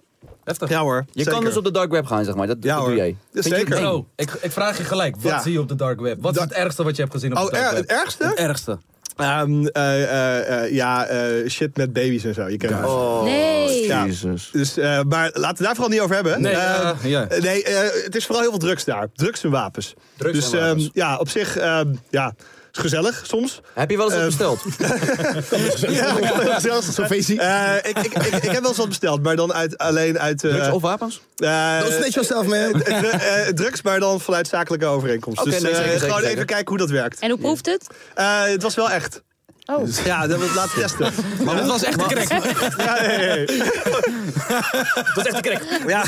C: Ja hoor.
H: Je kan dus op de dark web gaan, zeg maar. Dat,
C: Ja
H: dat
C: hoor.
H: doe jij.
C: Ja,
H: Vind je het
C: zeker.
H: eng?
D: Bro, Oh, ik, ik vraag je gelijk. Wat
C: Ja.
D: zie je op de dark web? Wat is
C: Da-
D: het ergste wat je hebt gezien op
C: Oh,
D: de dark
C: er-
D: web?
C: het ergste?
D: Het ergste.
C: Ehm, eh, eh, eh, ja, eh, shit met baby's en zo. Je kent het.
H: Oh.
E: nee.
C: Ja.
F: Jezus.
C: Dus, eh, maar laten we het daar vooral niet over hebben.
D: Nee,
C: Eh,
D: eh, ja.
C: eh, nee eh, het is vooral heel veel drugs daar. Drugs en wapens.
D: Drugs
C: dus
D: en wapens.
C: ehm, ja, op zich ehm, ja, is gezellig soms. Ehm,
H: Heb je wel eens wat besteld?
C: <laughs> Ja, zelfs
G: Zo'n feestje.
C: ik, ik, ik, ik heb wel eens wat <laughs> besteld, maar dan uit, alleen uit... eh,
H: Drugs of wapens?
C: eh,
G: Don't snitch yourself, man.
C: eh, eh, drugs, maar dan vanuit zakelijke overeenkomst.
H: Oké,
C: dus
H: nee,
C: eh,
H: zeker, zeker,
C: gewoon
H: zeker.
C: even kijken hoe dat werkt.
E: En hoe proeft het?
C: Eh, het was wel echt.
E: Oh.
C: Ja, dat we het laten testen.
D: Maar dat was echt een crack.
C: Ja, nee, nee,
G: <laughs>
C: nee.
D: Dat is echt een crack.
C: Ja,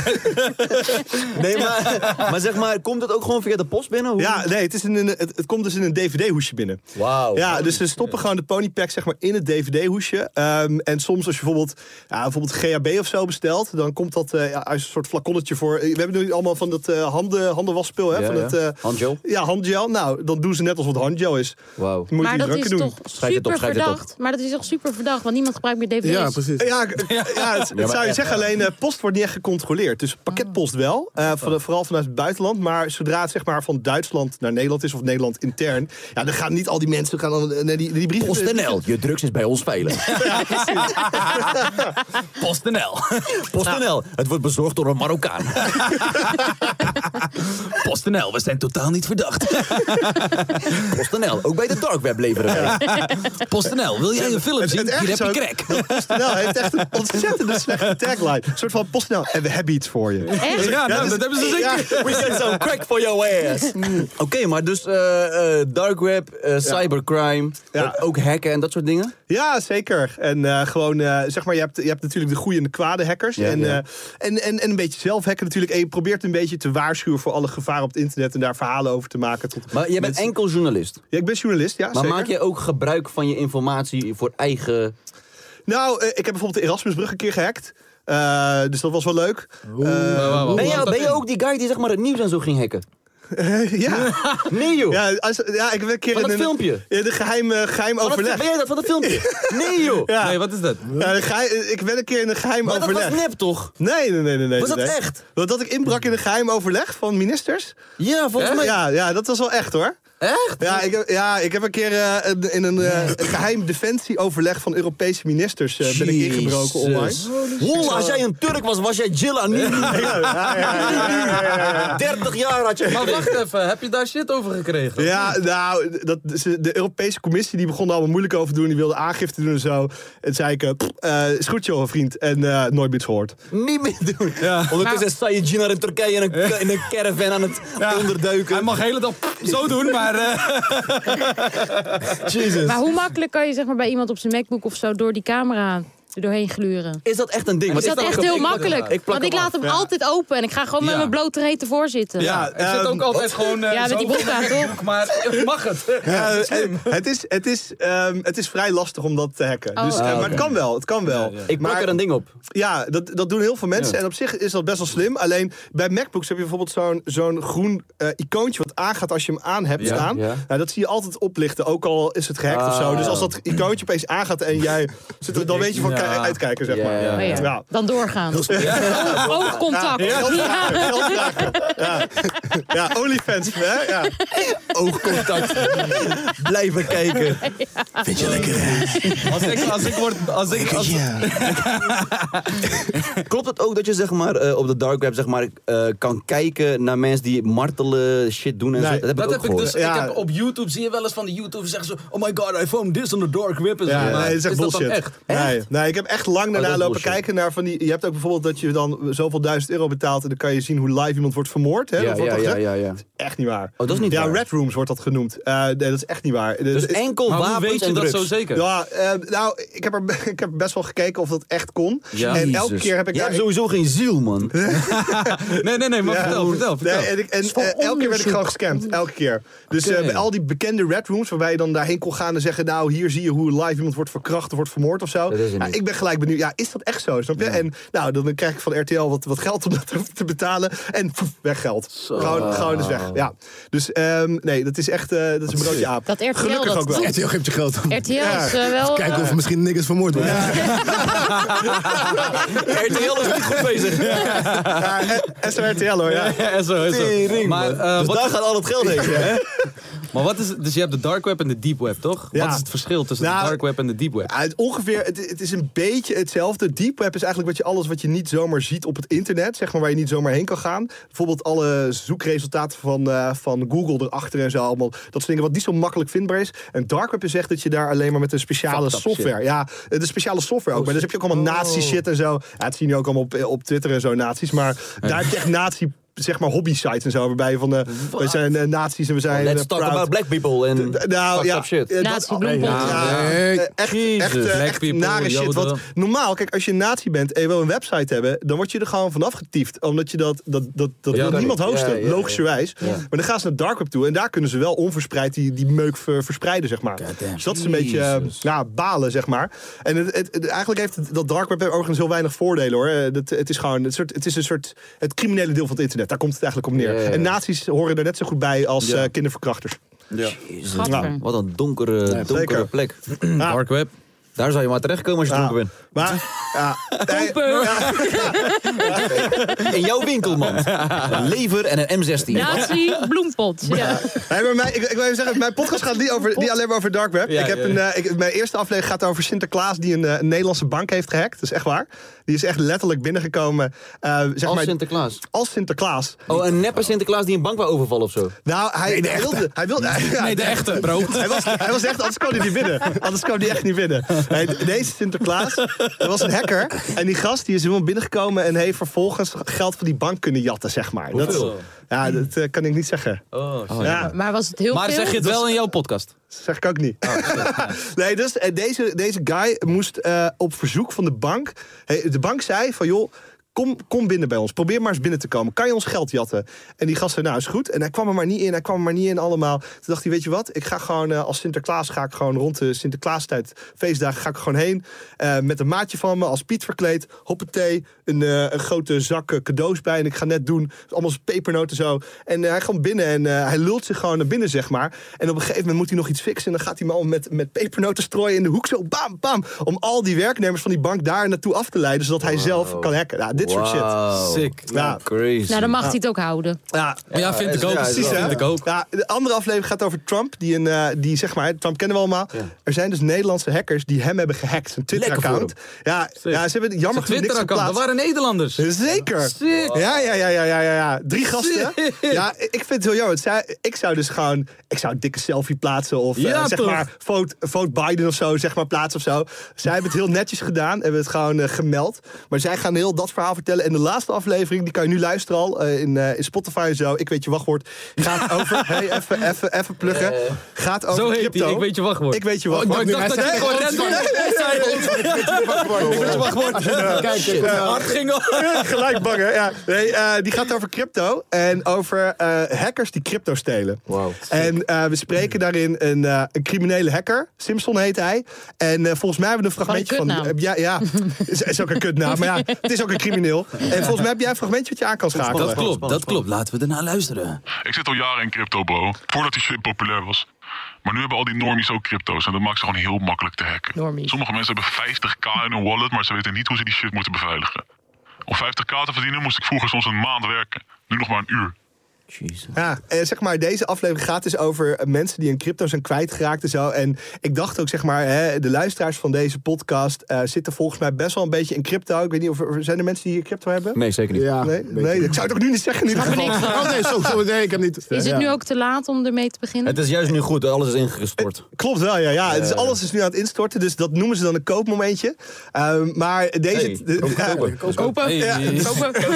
H: <laughs> Nee, maar, maar zeg maar, komt het ook gewoon via de post binnen? Hoe-
C: ja, nee het, is in een, het, het komt dus in een DVD-hoesje binnen.
H: Wauw.
C: Ja, dus ze stoppen gewoon de ponypack zeg maar, in het DVD-hoesje. Ehm, en soms als je bijvoorbeeld, ja, bijvoorbeeld GHB of zo bestelt... dan komt dat eh, ja, als een soort flaconnetje voor... We hebben nu allemaal van dat eh handen, handenwasspul. Hè,
H: Ja,
C: van
H: ja.
C: Het, eh,
H: Handgel?
C: Ja, handgel. Nou, dan doen ze net alsof het handgel is.
H: Wauw.
C: Dan Moet je
E: Maar
C: die
E: dat is
C: drukken doen.
E: toch
H: Schrijf dit op,
E: super
H: schrijf dit op.
E: verdacht. Maar dat is toch super verdacht, want niemand gebruikt meer dvd's.
G: Ja, precies.
C: Ja, ik- ja, het, het zou je zeggen. Alleen eh, post wordt niet echt gecontroleerd. Dus pakketpost wel. eh, van, vooral vanuit het buitenland. Maar zodra het zeg maar, van Duitsland naar Nederland is of Nederland intern. Ja, dan gaan niet al die mensen gaan dan, eh, naar die, die brieven.
F: PostNL, je drugs is bij ons veilig.
D: <laughs> PostNL.
F: PostNL, het wordt bezorgd door een Marokkaan.
D: PostNL, we zijn totaal niet verdacht.
F: PostNL, ook bij de dark web leveren wij.
D: PostNL, wil jij een film
C: Het- het
D: zien? Hier
C: ergste
D: heb je
C: ook-
D: crack.
C: PostNL Nou, heeft echt een ontzettende slechte tagline. Een soort van PostNL. En we hebben iets voor je.
E: Echt?
D: Ja, nou, dat hebben ze zeker.
H: We get some crack for your
D: <laughs>
H: ass. Oké, maar dus eh, eh, dark web, eh, cybercrime,
C: Ja.
D: eh,
H: ook hacken en dat soort dingen?
C: Ja, zeker. En eh, gewoon, eh, zeg maar, je hebt, je hebt natuurlijk de goede en de kwade hackers. en,
H: ja.
C: eh, en, en, en een beetje zelf hacken natuurlijk. En je probeert een beetje te waarschuwen voor alle gevaren op het internet. En daar verhalen over te maken. Tot
H: Maar jij bent
C: mensen-
H: enkel journalist.
C: Ja, ik ben journalist, ja.
H: Maar
C: zeker.
H: maak je ook gebruik van je informatie voor eigen...
C: Nou, eh, ik heb bijvoorbeeld de Erasmusbrug een keer gehackt. Eh, Eh, dus dat was wel leuk. Eh,
F: ben, je, ben je ook die guy die zeg maar het nieuws en zo ging
C: <laughs>
F: hacken?
C: <laughs> ja.
F: Nee joh.
C: Ja, als, ja, ik heb een keer
F: Van
C: in
F: dat
C: een
F: filmpje.
C: Ja, de geheim, eh,
D: Oh,
C: geheim
F: Van dat-
C: overleg.
F: ben jij dat van dat
C: <laughs>
F: filmpje? Nee joh.
C: Ja.
D: Nee, wat is dat?
C: Ja, de geheim- ik ben een keer in een geheim
F: Maar dat
C: overleg.
F: was nep toch?
C: Nee, nee, nee, nee. nee
F: Was dat
C: nee.
F: echt?
C: Dat, dat ik inbrak in een geheim overleg van ministers?
F: Ja, volgens mij.
C: Ja, ja, dat was wel echt hoor.
F: Echt?
C: Ja, ik heb, ja, ik heb een keer eh, een- in een eh, een geheim defensieoverleg van Europese ministers eh, ben ik ingebroken online.
F: Holla, als jij een Turk was, was jij Jilla niet.
C: <laughs> Ja, ja, ja, ja, ja, ja, ja.
F: 30 jaar had je.
D: Maar wacht even, heb je daar shit over gekregen?
C: Ja, nou, dat, ze- de Europese Commissie die begon er allemaal moeilijk over te doen. Die wilde aangifte doen en zo. En zei ik, eh, pff, eh, is goed joh, vriend. En eh, nooit meer iets gehoord.
F: <laughs> Niet meer doen. Ondertussen sta je Jinar in Turkije in een, in een caravan aan het onderduiken.
D: Hij mag de hele dag zo doen, maar... eh,
F: Jesus.
E: Maar hoe makkelijk kan je zeg maar, bij iemand op zijn MacBook of zo door die camera er doorheen gluren?
F: Is dat echt een ding?
E: Is dat echt heel makkelijk?
F: Ik plak
E: want ik
F: hem af,
E: laat hem
F: ja.
E: altijd open en ik ga gewoon met
D: Ja.
E: mijn blote reet ervoor zitten.
D: ja, ik zit ook altijd gewoon... eh,
E: Ja, met
D: zo
E: die broek
D: onder
E: aan,
D: mijn broek, Maar mag het?
C: Ja, en het, is, het, is, ehm, het is vrij lastig om dat te hacken.
E: Oh.
C: dus, eh,
E: Ah,
C: Maar het kan wel, het kan wel.
F: Ik plak
C: maar,
F: er een ding op.
C: Ja, dat, dat doen heel veel mensen. En op zich is dat best wel slim. Alleen bij MacBooks heb je bijvoorbeeld zo'n zo'n groen eh, icoontje... wat aangaat als je hem aan hebt staan.
F: ja.
C: Nou, dat zie je altijd oplichten, ook al is het gehackt of zo. Dus als dat icoontje opeens aangaat en jij zit er... dan weet je van kijk-
D: Ja.
C: uitkijken, zeg maar.
E: Oh ja.
C: Ja.
E: Dan doorgaan. Oog- <laughs> Oogcontact. Ja.
C: Ja, OnlyFans, hè? Ja.
F: Oogcontact. <laughs> Blijven
D: <laughs>
F: kijken.
K: Vind je lekker, hè?
D: Als ik, als ik word... Als ik, als,
F: Klopt het ook dat je zeg maar, eh, op de dark web zeg maar, eh, kan kijken naar mensen die martelen, shit doen en
C: Nee,
F: zo? Dat heb
D: dat
F: ik ook
D: heb ik
F: gehoord.
D: dus.
C: Ja.
D: Ik heb op YouTube zie je wel eens van de YouTube zeggen ze: Oh my god, I found this on the dark web. en zo.
C: Ja,
D: Maar
C: nee, dat is echt
D: dat
C: bullshit.
D: dan echt?
C: Nee, nee, ik heb echt lang daarna
F: Oh, dat is
C: lopen
F: bullshit.
C: kijken naar van die. Je hebt ook bijvoorbeeld dat je dan zoveel duizend euro betaalt en dan kan je zien hoe live iemand wordt vermoord. Hè?
F: Ja,
C: Dat wordt
F: ja,
C: dan
F: ja,
C: gezegd.
F: ja, ja.
C: Dat is Echt niet waar.
F: dat is niet
C: ja,
F: waar.
C: red rooms wordt dat genoemd. Eh, nee, dat is echt niet waar.
F: Dus
C: Het is-
F: enkel
D: Maar hoe
F: wapens
D: weet je
F: en
D: dat
F: drugs.
D: zo zeker?
C: Ja, eh, nou, ik heb, er, <laughs> ik heb best wel gekeken of dat echt kon.
D: Ja.
C: En elke
F: Jezus.
C: keer heb ik
F: Jij
C: daar-
F: hebt sowieso geen ziel,
C: <laughs>
F: man.
D: Nee, nee, nee, maar vertel, vertel.
C: Nee,
D: Oh, vertel.
C: en ik, en, eh, elke keer werd ik gewoon gescamd. Elke keer. Dus eh,
D: Oké.
C: bij al die bekende red rooms, waarbij je dan daarheen kon gaan en zeggen: Nou, hier zie je hoe live iemand wordt verkracht of wordt vermoord of zo.
F: Dat is het
C: Ja,
F: niet.
C: ik ben gelijk benieuwd. Ja, is dat echt zo? Snap je? En nou, dan krijg ik van RTL wat, wat geld om dat <laughs> te- te betalen. En poef, weg geld. Gewoon, gewoon is weg. Ja. Dus ehm, nee, dat is echt eh, dat is een broodje aap.
E: Dat RTL
C: Gelukkig
E: dat
C: ook wel.
E: doet.
G: RTL geeft je
E: <laughs>
G: geld om.
E: RTL is eh, wel...
G: Kijken
E: eh,
G: of misschien niks vermoord wordt.
F: RTL is niet goed
D: <laughs>
F: bezig.
C: Ja, eh, SRTL hoor. Ja.
D: Ja, zo, zo. Maar, eh,
F: dus
D: wat,
F: daar gaat al het geld heen. hè?
D: maar wat is het? Dus je hebt de dark web en de deep web, toch?
C: Ja.
D: Wat is het verschil tussen
C: Nou,
D: de dark web en de deep web?
C: Ja, het ongeveer, het, het is een beetje hetzelfde. Deep web is eigenlijk wat je alles wat je niet zomaar ziet op het internet, zeg maar waar je niet zomaar heen kan gaan. Bijvoorbeeld alle zoekresultaten van, eh, van Google erachter en zo allemaal. Dat soort dingen wat niet zo makkelijk vindbaar is. En dark web is echt dat je daar alleen maar met een speciale
F: Fucked up Oh.
C: software, ja, de speciale software ook. Maar dus heb je ook allemaal nazi shit en zo. Ja, het zien je ook allemaal op, op Twitter en zo nazi's, maar daar heb je echt nazi zeg maar hobby sites en zo waarbij je van eh we zijn eh, nazi's en we zijn
F: Let's
C: eh,
F: talk
C: proud.
F: about black people en
C: nou
F: fucked
C: ja,
F: up shit.
C: eh, dat-
E: Nazi-bloempot.
C: ja,
G: Nee.
C: eh, echt, echt, eh,
D: Black
C: echt
D: people,
C: nare shit.
D: Joden.
C: Want normaal, kijk, als je een nazi bent en je wil een website hebben, dan word je er gewoon vanaf getiefd. Omdat je dat, dat, dat, dat wil
F: dat
C: niemand
F: niet.
C: hosten,
F: Ja, ja, ja.
C: logischerwijs. Maar dan gaan ze naar dark web toe en daar kunnen ze wel onverspreid die, die meuk ver- verspreiden, zeg maar. Dus dat is een beetje eh, ja, balen, zeg maar. En het, het- het- eigenlijk heeft het- dat dark web overigens heel weinig voordelen hoor. Eh, Dat, het is gewoon een soort, het is een soort het criminele deel van het internet. Daar komt het eigenlijk om neer.
F: Ja, ja, ja.
C: En nazi's horen er net zo goed bij als eh, kinderverkrachters.
F: Jezus,
E: Gadver.
F: nou, wat een donkere, donkere
C: zeker.
F: plek.
D: Dark web.
F: Daar zou je maar terechtkomen als je
C: Ja.
F: dronken bent.
C: Ah.
D: <laughs>
C: Maar, ja, nee,
F: In jouw winkel, man.
C: <laughs>
F: Een lever en een M16.
E: Nazi-bloempot. Ja.
C: Nee, maar mijn, ik, ik wil even zeggen, mijn podcast gaat niet, over, niet alleen maar over dark web.
D: Ja,
C: ik heb
D: ja,
C: Een,
D: ja.
C: eh, ik- mijn eerste aflevering gaat over Sinterklaas die een, eh, een Nederlandse bank heeft gehackt. Dat is echt waar. Die is echt letterlijk binnengekomen. eh, zeg
F: Als
C: maar,
F: Sinterklaas.
C: als Sinterklaas.
F: Oh, een neppe Sinterklaas die een bank wou overvallen of zo.
C: Nou, hij wilde... Hij wilde <laughs> ja,
D: Nee, de echte, bro.
C: hij was, hij was echt, anders kwam hij niet binnen. Anders kwam hij echt niet binnen. Nee, deze Sinterklaas, er was een hacker. En die gast die is helemaal binnengekomen en heeft vervolgens geld van die bank kunnen jatten, zeg maar. Dat, is-
D: Hoeveel?
C: ja, dat eh, kan ik niet zeggen. ja,
E: Maar was het heel
D: Maar
E: veel?
D: zeg je het
C: Dus-
D: wel in jouw podcast?
C: Dat zeg ik ook niet. <laughs> nee, dus eh, deze, deze guy moest eh, op verzoek van de bank. hey, De bank zei van joh. Kom, kom binnen bij ons. Probeer maar eens binnen te komen. Kan je ons geld jatten? En die gast zei, nou is goed. En hij kwam er maar niet in. Hij kwam er maar niet in allemaal. Toen dacht hij, weet je wat? Ik ga gewoon eh, als Sinterklaas ga ik gewoon rond de Sinterklaastijd, feestdagen, ga ik gewoon heen. eh, met een maatje van me, als Piet verkleed. Hoppatee, een, eh, een grote zak eh, cadeaus bij. En ik ga net doen, allemaal zijn pepernoten zo. En eh, hij komt binnen en eh, hij lult zich gewoon naar binnen, zeg maar. En op een gegeven moment moet hij nog iets fixen. En dan gaat hij man met, met pepernoten strooien in de hoek. Zo bam, bam. Om al die werknemers van die bank daar naartoe af te leiden. Zodat hij zelf kan hacken. Ja, dit soort
F: Wauw.
C: shit.
F: Sick.
C: Oh. Ja.
F: Crazy.
E: Nou, dan mag
C: Ja.
E: hij het ook houden.
C: Ja,
D: Ja, vind ik ook.
C: precies.
D: Vind
C: hè?
D: ik ook.
C: Ja, de andere aflevering gaat over Trump. Die, een, eh, die zeg maar, Trump kennen we allemaal. Er zijn dus Nederlandse hackers die hem hebben gehackt. Zijn Twitter-account. Ja, ja, ze hebben jammer genoeg niks
D: Twitter-account, dat
C: geplaatst. Dus,
D: waren Nederlanders.
C: Zeker.
D: Sick.
C: Ja, ja, ja, ja, ja, ja, ja. Drie gasten.
D: Sick.
C: Ja, ik vind het heel jammer. want zij- Ik zou dus gewoon, ik zou een dikke selfie plaatsen of eh,
D: Ja,
C: zeg
D: toch?
C: maar vote, vote Biden of zo, zeg maar plaatsen of zo. Zij hebben het heel netjes gedaan, hebben het gewoon eh, gemeld. Maar zij gaan heel dat verhaal vertellen. En de laatste aflevering, die kan je nu luisteren al eh, in, eh, in Spotify en zo. Ik weet je
D: <laughs>
C: wachtwoord. Gaat over, hey, even, even, even pluggen. Gaat over
D: Eh, Zo heet
C: crypto.
D: die, ik weet je wachtwoord.
C: Ik weet je
D: Oh,
C: wachtwoord.
D: ik dacht dat jij gewoon random
C: Ik weet je
D: wachtwoord.
G: Kijk, kijk,
D: Hard ging op.
C: Ja, Gelijk bang, hè? Ja. Nee, eh, die gaat over crypto en over eh, hackers die crypto stelen.
F: Wauw.
C: En eh, we spreken daarin een, eh, een criminele hacker. Simpson heet hij. En eh, volgens mij hebben we een fragmentje van... Eh,
E: kutnaam.
C: ja, ja. <laughs> Is, is ook een kutnaam, maar ja, het is ook een crimineel. En volgens mij heb jij een fragmentje wat je aan kan schakelen.
D: Dat klopt, dat klopt. Laten we ernaar luisteren.
L: Ik zit al jaren in crypto, bro. Voordat die shit populair was. Maar nu hebben al die normies ook crypto's. En dat maakt ze gewoon heel makkelijk te hacken.
E: Normies.
L: Sommige mensen hebben 50k in hun wallet, maar ze weten niet hoe ze die shit moeten beveiligen. Om 50k te verdienen moest ik vroeger soms een maand werken. Nu nog maar een uur.
C: Ja, eh, zeg maar, deze aflevering gaat dus over eh, mensen die hun crypto zijn kwijtgeraakt en zo. En ik dacht ook, zeg maar, hè, de luisteraars van deze podcast eh, zitten volgens mij best wel een beetje in crypto. Ik weet niet of er zijn er mensen die crypto hebben.
F: Nee, zeker niet.
G: Ja,
C: Nee, nee, ik zou het ook nu niet zeggen. In ieder
E: Snap er
C: geval.
E: niks van.
G: Oh nee, zo, zo, nee, ik heb niet.
E: Is het nu ook te laat om ermee te beginnen?
F: Het is juist nu goed, alles is ingestort.
C: Klopt wel, ja. ja. Het is, alles is nu aan het instorten, dus dat noemen ze dan een koopmomentje. Ehm, maar deze...
F: Hey,
C: de-
F: kopen,
C: <laughs> ja,
F: kopen.
D: Hey.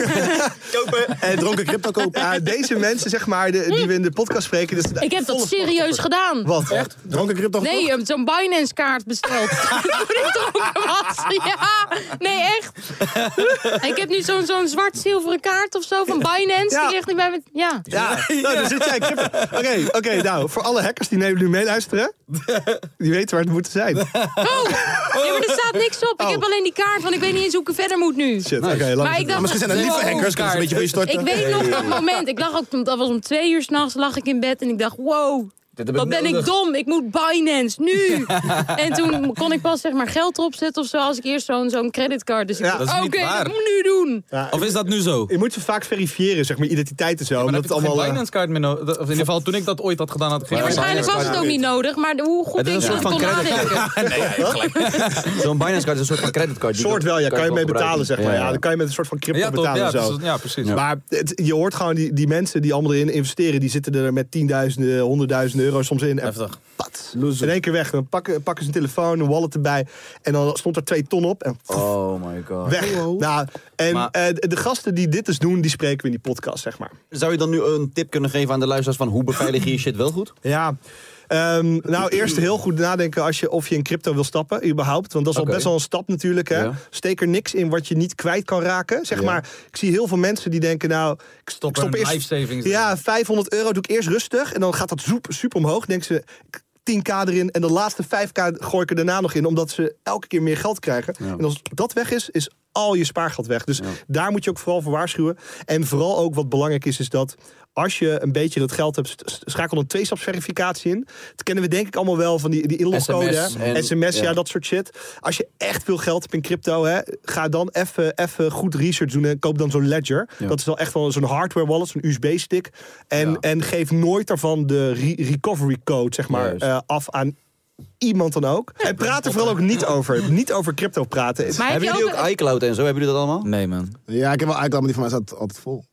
C: kopen. En Eh, dronken crypto kopen. Ja, deze mensen, zeg maar, de- die we in de podcast spreken... Dus
E: Ik heb dat
C: volle-
E: serieus gedaan.
C: Wat? Echt?
G: Dronken crypto
E: Nee, je hebt zo'n Binance-kaart besteld. Toen ik dronken was. Ja, nee, echt. En ik heb nu zo'n zo'n zwart-zilveren kaart of zo van Binance.
C: Ja.
E: Die ligt nu bij me. Ja.
C: Ja, nou, daar zit jij in crypto. Oké, oké, nou, voor alle hackers die nu meeluisteren... die weten waar het moet
D: <laughs>
C: zijn.
E: Oh, nee, maar er staat niks op. Ik heb alleen die kaart, want ik weet niet eens hoe ik er verder moet nu.
C: Shit, oké, laat
E: Maar
C: het
E: ik
C: doen.
E: dacht, Oh.
G: Misschien zijn er lieve
E: wow.
G: hackers, kunnen ze een beetje voor je
E: Ik
G: storten.
E: weet nog dat moment. Ik lag ook, dat was om twee uur s'nachts, lag ik in bed en ik dacht, wow.
F: heb
E: Wat
F: ik
E: ben ik
F: nodig.
E: dom, ik moet Binance, nu! en toen kon ik pas zeg maar geld opzetten of zo, als ik eerst zo'n zo'n creditcard. Dus ik
C: Ja.
E: dacht,
D: Dat is
E: oké,
D: niet waar.
E: dat moet ik nu doen.
D: Of is dat nu zo?
C: Je moet ze vaak verifiëren, zeg maar, identiteit en zo.
D: Maar
C: omdat
D: heb je
C: het
D: allemaal
C: allemaal...
D: geen
C: eh,
D: Binance-kaart meer nodig? Of in ieder geval, toen ik dat ooit had gedaan, had ik geen
E: Ja, waarschijnlijk
D: <laughs>
E: was het ook niet nodig, maar hoe goed
F: Het is
E: ik
F: een soort
E: dat
F: van
E: kon nadenken.
F: creditcard. Zo'n Binance card is een soort van creditcard. Die
C: soort wel, ja. Kan je mee
F: wel
C: betalen, zeg
F: gebruiken.
C: maar. Ja,
F: Ja,
C: dan kan je met een soort van crypto
D: Ja, toch?
C: betalen
D: Ja,
C: en zo.
D: dus- ja, precies.
C: Maar het- je hoort gewoon die, die mensen die allemaal erin investeren, die zitten er met tienduizenden, honderdduizenden euro soms in. En
D: Heftig.
C: pat, in één keer weg. Dan pakken, pakken ze een telefoon, een wallet erbij. En dan stond er twee ton op en
F: Oh my god.
C: weg. Nou, en
D: Maar-
C: eh, de gasten die dit dus doen, die spreken we in die podcast, zeg maar.
F: Zou je dan nu een tip kunnen geven aan de luisteraars van hoe beveilig je je shit wel goed?
C: Ja. Ehm, nou, eerst heel goed nadenken als je, of je in crypto wil stappen, überhaupt. Want dat is al
F: Oké.
C: best wel een stap natuurlijk. Hè?
F: Ja.
C: Steek er niks in wat je niet kwijt kan raken. Zeg maar, ik zie heel veel mensen die denken, nou... Ik
D: Stop
C: ik
D: er een life savings in.
C: Ja, 500 euro doe ik eerst rustig. En dan gaat dat zoep, super omhoog. Denken ze, ik- 10k erin. En de laatste 5k gooi ik er daarna nog in. Omdat ze elke keer meer geld krijgen. En als dat weg is, is al je spaargeld weg. Dus daar moet je ook vooral voor waarschuwen. En vooral ook wat belangrijk is, is dat... Als je een beetje dat geld hebt, st- st- schakel een tweestapsverificatie in. Dat kennen we denk ik allemaal wel van die, die inlogcode.
F: SMS
C: hè?
F: en-
C: SMS, ja,
F: ja.
C: dat soort shit. Als je echt veel geld hebt in crypto, hè, ga dan even even goed research doen en koop dan zo'n Ledger. Dat is wel echt wel zo'n hardware wallet, zo'n USB-stick. En, en geef nooit daarvan de re- recovery code, zeg maar,
F: Juist.
C: eh, af aan iemand dan ook. en praat er vooral ook niet over. Niet over crypto praten.
E: Maar heb
F: Hebben
E: je
F: jullie
E: ook...
F: ook iCloud en zo? Hebben jullie dat allemaal?
D: Nee, man.
G: Ja, ik heb wel iCloud, maar die van mij staat altijd vol.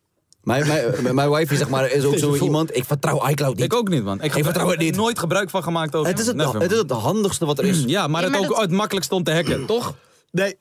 F: Mijn,
D: <laughs>
F: mijn, mijn wifi zeg maar, is ook zo iemand. Ik vertrouw iCloud niet.
D: Ik ook niet, man. Ik,
F: Ik vertrouw het
D: heb er
F: niet.
D: nooit gebruik van gemaakt ook.
F: Het is het,
D: Never,
F: het, is Mm.
D: man.
F: het handigste wat er is.
D: Ja, maar
E: Ja,
D: het
E: maar
D: ook
E: dat-
D: het makkelijkst om te hacken, toch?
C: Nee.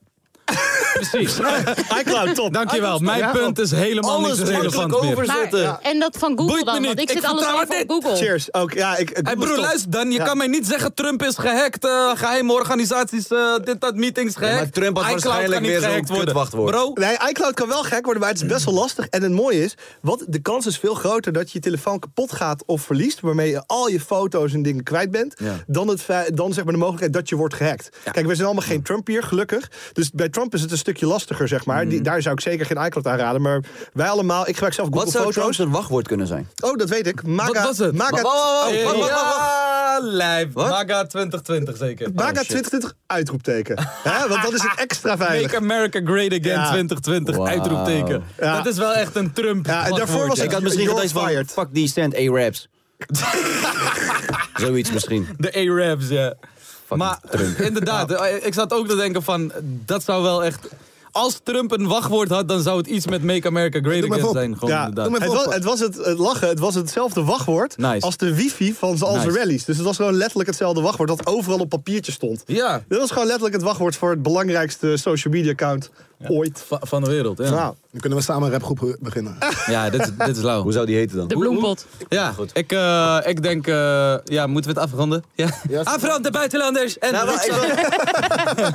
D: <laughs>
M: precies.
C: <laughs> iCloud, top.
M: Dankjewel. Mijn punt is helemaal
C: Alles
M: niet relevant
C: makkelijk
M: meer.
C: overzetten.
E: Maar- en dat van Google
M: Boeit me
E: dan, want
M: niet.
E: ik
M: Ik
E: zit alles
M: vertrouw
E: over
M: het
E: op Google.
C: Cheers. Ook, ja, ik,
D: Hey broer, luister dan. Je kan mij niet zeggen Trump is gehackt. eh, geheime organisaties, eh, dit, dat, meetings gehackt.
C: maar Trump had
D: iCloud
C: waarschijnlijk
D: kan niet
C: weer zo'n
D: gehackt worden.
C: kutwachtwoord.
D: Bro,
C: Nee, iCloud kan wel gek worden, maar het is best wel lastig. En het mooie is, wat, de kans is veel groter dat je je telefoon kapot gaat of verliest... waarmee je al je foto's en dingen kwijt bent...
F: Ja.
C: dan, het, fe- dan zeg maar de mogelijkheid dat je wordt gehackt. Kijk, we zijn allemaal geen Trump hier, gelukkig. Dus bij Trump is het een stukje lastiger, zeg maar.
D: Mm.
C: Die, daar zou ik zeker geen iCloud aan raden. Maar wij allemaal, ik gebruik zelf Google
F: Wat zou
C: Foto's.
F: Trump's wachtwoord kunnen zijn?
C: Oh, dat weet ik. Maga,
D: wat was het?
C: Maga,
D: Wa- wa- wa- wa- wa-
C: oh,
D: Oh, wa-
C: ja.
D: wa- lijf. MAGA 2020 zeker.
C: Maga 2020 uitroepteken. Hè, Want dat is het
D: <laughs>
C: extra veilig.
D: Make America Great Again
C: Ja.
D: 2020,
C: Wauw.
D: uitroepteken.
C: Ja.
D: Dat is wel echt een Trump.
C: Ja, en daarvoor was
F: Ik had misschien
C: You're
F: gedacht van,
C: fired.
F: fuck die stand A-raps. Zoiets misschien.
D: De A-Rabs, ja. Maar <laughs> inderdaad, eh, ik zat ook te denken van, dat zou wel echt... Als Trump een wachtwoord had, dan zou het iets met Make America Great
C: Doe maar
D: Again
C: even op.
D: zijn. Gewoon,
C: Ja,
D: inderdaad.
C: doe maar even het, was, het was het, het lachen, het was hetzelfde wachtwoord
D: Nice.
C: als de wifi van al zijn
D: Nice.
C: rallies. Dus het was gewoon letterlijk hetzelfde wachtwoord dat overal op papiertje stond.
D: Ja.
C: Dit was gewoon letterlijk het wachtwoord voor het belangrijkste social media account ooit.
D: Va- van de wereld, ja.
C: Nou,
G: Dan kunnen we samen een rapgroep beginnen.
D: Ja, dit, is- dit is lauw.
F: Hoe zou die heten dan?
E: De bloempot.
D: Ja, ik, eh, ik denk... eh, ja, moeten we het afronden? Ja. Afronden, buitenlanders! En
F: Nou, wel,
D: Riksdag.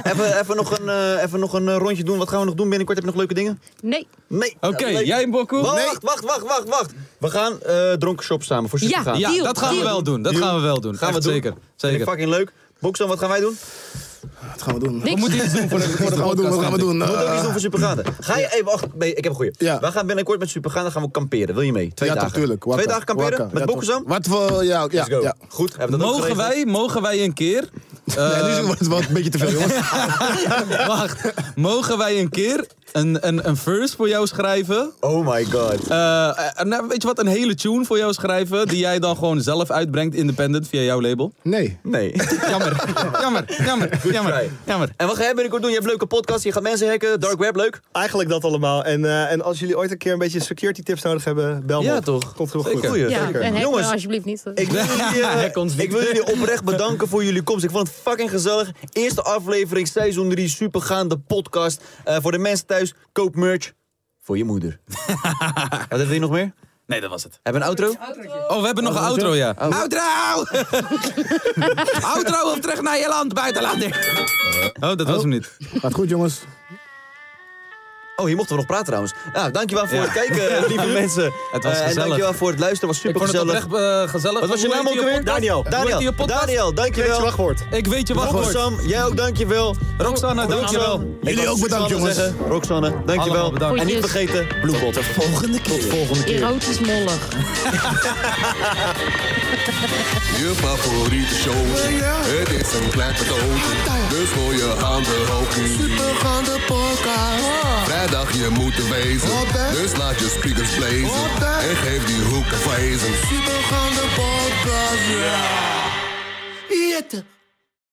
F: even, <laughs> even nog een, eh, even nog een eh, rondje doen. Wat gaan we nog doen? Binnenkort heb je nog leuke dingen?
E: Nee.
F: Nee.
D: Oké,
F: Leuk.
D: jij Boku?
F: Wacht, wacht, wacht, wacht, wacht. We gaan eh dronken shop samen voor super
E: Ja,
F: gaan.
D: Ja,
E: Deal,
D: dat gaan we
E: deal.
D: wel doen. Dat
F: Deal.
D: gaan we wel doen.
F: Gaan we
D: Echt
F: doen.
D: Zeker.
F: Vind ik
D: zeker.
F: fucking leuk. Boeksan, wat gaan wij doen?
G: Wat gaan we doen?
E: Niks.
D: We moeten iets doen voor
G: <laughs>
D: de, voor
G: Wat
D: de
G: gaan we doen?
D: podcast,
G: Wat gaan we
D: denk ik.
G: doen?
F: We moeten ook
G: Eh,
F: iets doen voor Supergaande. Ga je even, wacht, nee, ik heb een goeie.
G: Ja.
F: We gaan binnenkort met Supergaande gaan we kamperen. Wil je mee? Twee
G: ja,
F: dagen.
G: toch, tuurlijk. Wakka,
F: Twee dagen kamperen
G: wakka.
F: met
G: Ja, toch.
F: Boeksan?
G: Wat voor... Ja, ja,
F: Let's go.
G: ja.
F: Goed, hebben we dat ook
D: Mogen
F: geregeld?
D: wij, mogen wij een keer... <laughs>
G: Nee, nu is het- wordt het wel een beetje te veel, jongens.
D: Wacht, mogen wij een keer een, een, een verse voor jou schrijven?
F: Oh my god.
D: Eh, eh, nou, weet je wat, een hele tune voor jou schrijven... die jij dan gewoon zelf uitbrengt, independent, via jouw label? <laughs>
G: Nee.
F: Nee. <laughs>
D: Jammer, jammer, jammer,
F: try.
D: jammer, jammer.
F: En wat ga jij binnenkort doen? Je hebt leuke podcasts, je gaat mensen hacken, dark web, leuk.
C: eigenlijk dat allemaal. En, eh, en als jullie ooit een keer een beetje security tips nodig hebben, bel me
F: Ja,
C: op.
F: toch?
C: Komt heel
F: Zeker.
C: goed.
F: Goeie.
E: Ja,
F: Zeker.
E: en
F: Jongens.
E: Jongens, alsjeblieft niet.
F: Ik wil,
D: <laughs>
F: jullie, eh,
D: Hack ons niet.
F: ik wil jullie oprecht bedanken voor jullie komst. Ik vond het fucking gezellig. Eerste aflevering, seizoen 3, supergaande podcast. Eh, voor de mensen thuis, koop merch voor je
D: <laughs>
F: moeder. Wat hebben we hier nog meer?
D: Nee, dat was het.
F: Hebben we een outro? Oh.
D: Oh, we hebben nog een outro, ja.
F: <laughs>
D: Outro! outro of terug naar je land, buitenlander. Oh, dat was hem niet.
G: Gaat goed, jongens.
F: Oh, hier mochten we nog praten trouwens. Nou, dankjewel voor het
D: <laughs>
F: kijken, lieve mensen.
D: Het was
F: Eh, en
D: gezellig.
F: dankjewel voor het luisteren. was
D: Ik
F: super
D: vond het
F: gezellig.
D: oprecht eh, gezellig.
F: Wat was je
D: Hoe
F: naam
D: heet
F: ook alweer?
D: podcast?
F: Daniel.
D: Hoe heet
F: Daniel,
D: je podcast?
F: Daniel, dankjewel.
C: je wachtwoord.
D: Ik weet je wachtwoord.
F: Roxanne, jij ook dankjewel.
D: Roxanne, dankjewel.
G: Jullie ook bedankt, jongens.
F: Zeggen, Roxanne, dankjewel.
D: Allemaal bedankt.
F: En niet
E: Groetjes.
F: vergeten, bloempot. Tot de volgende keer. Tot volgende keer.
E: Erotisch mollig.
B: Je favoriete shows, het is een klein cadeautje. Dus gooi je handen hoog nu.
N: Supergaande podcast.
B: Vrijdag je moet er wezen, dus laat je speakers blazen. En geef die hoek een vrezen.
N: Supergaande podcast. Yeah. Yeah.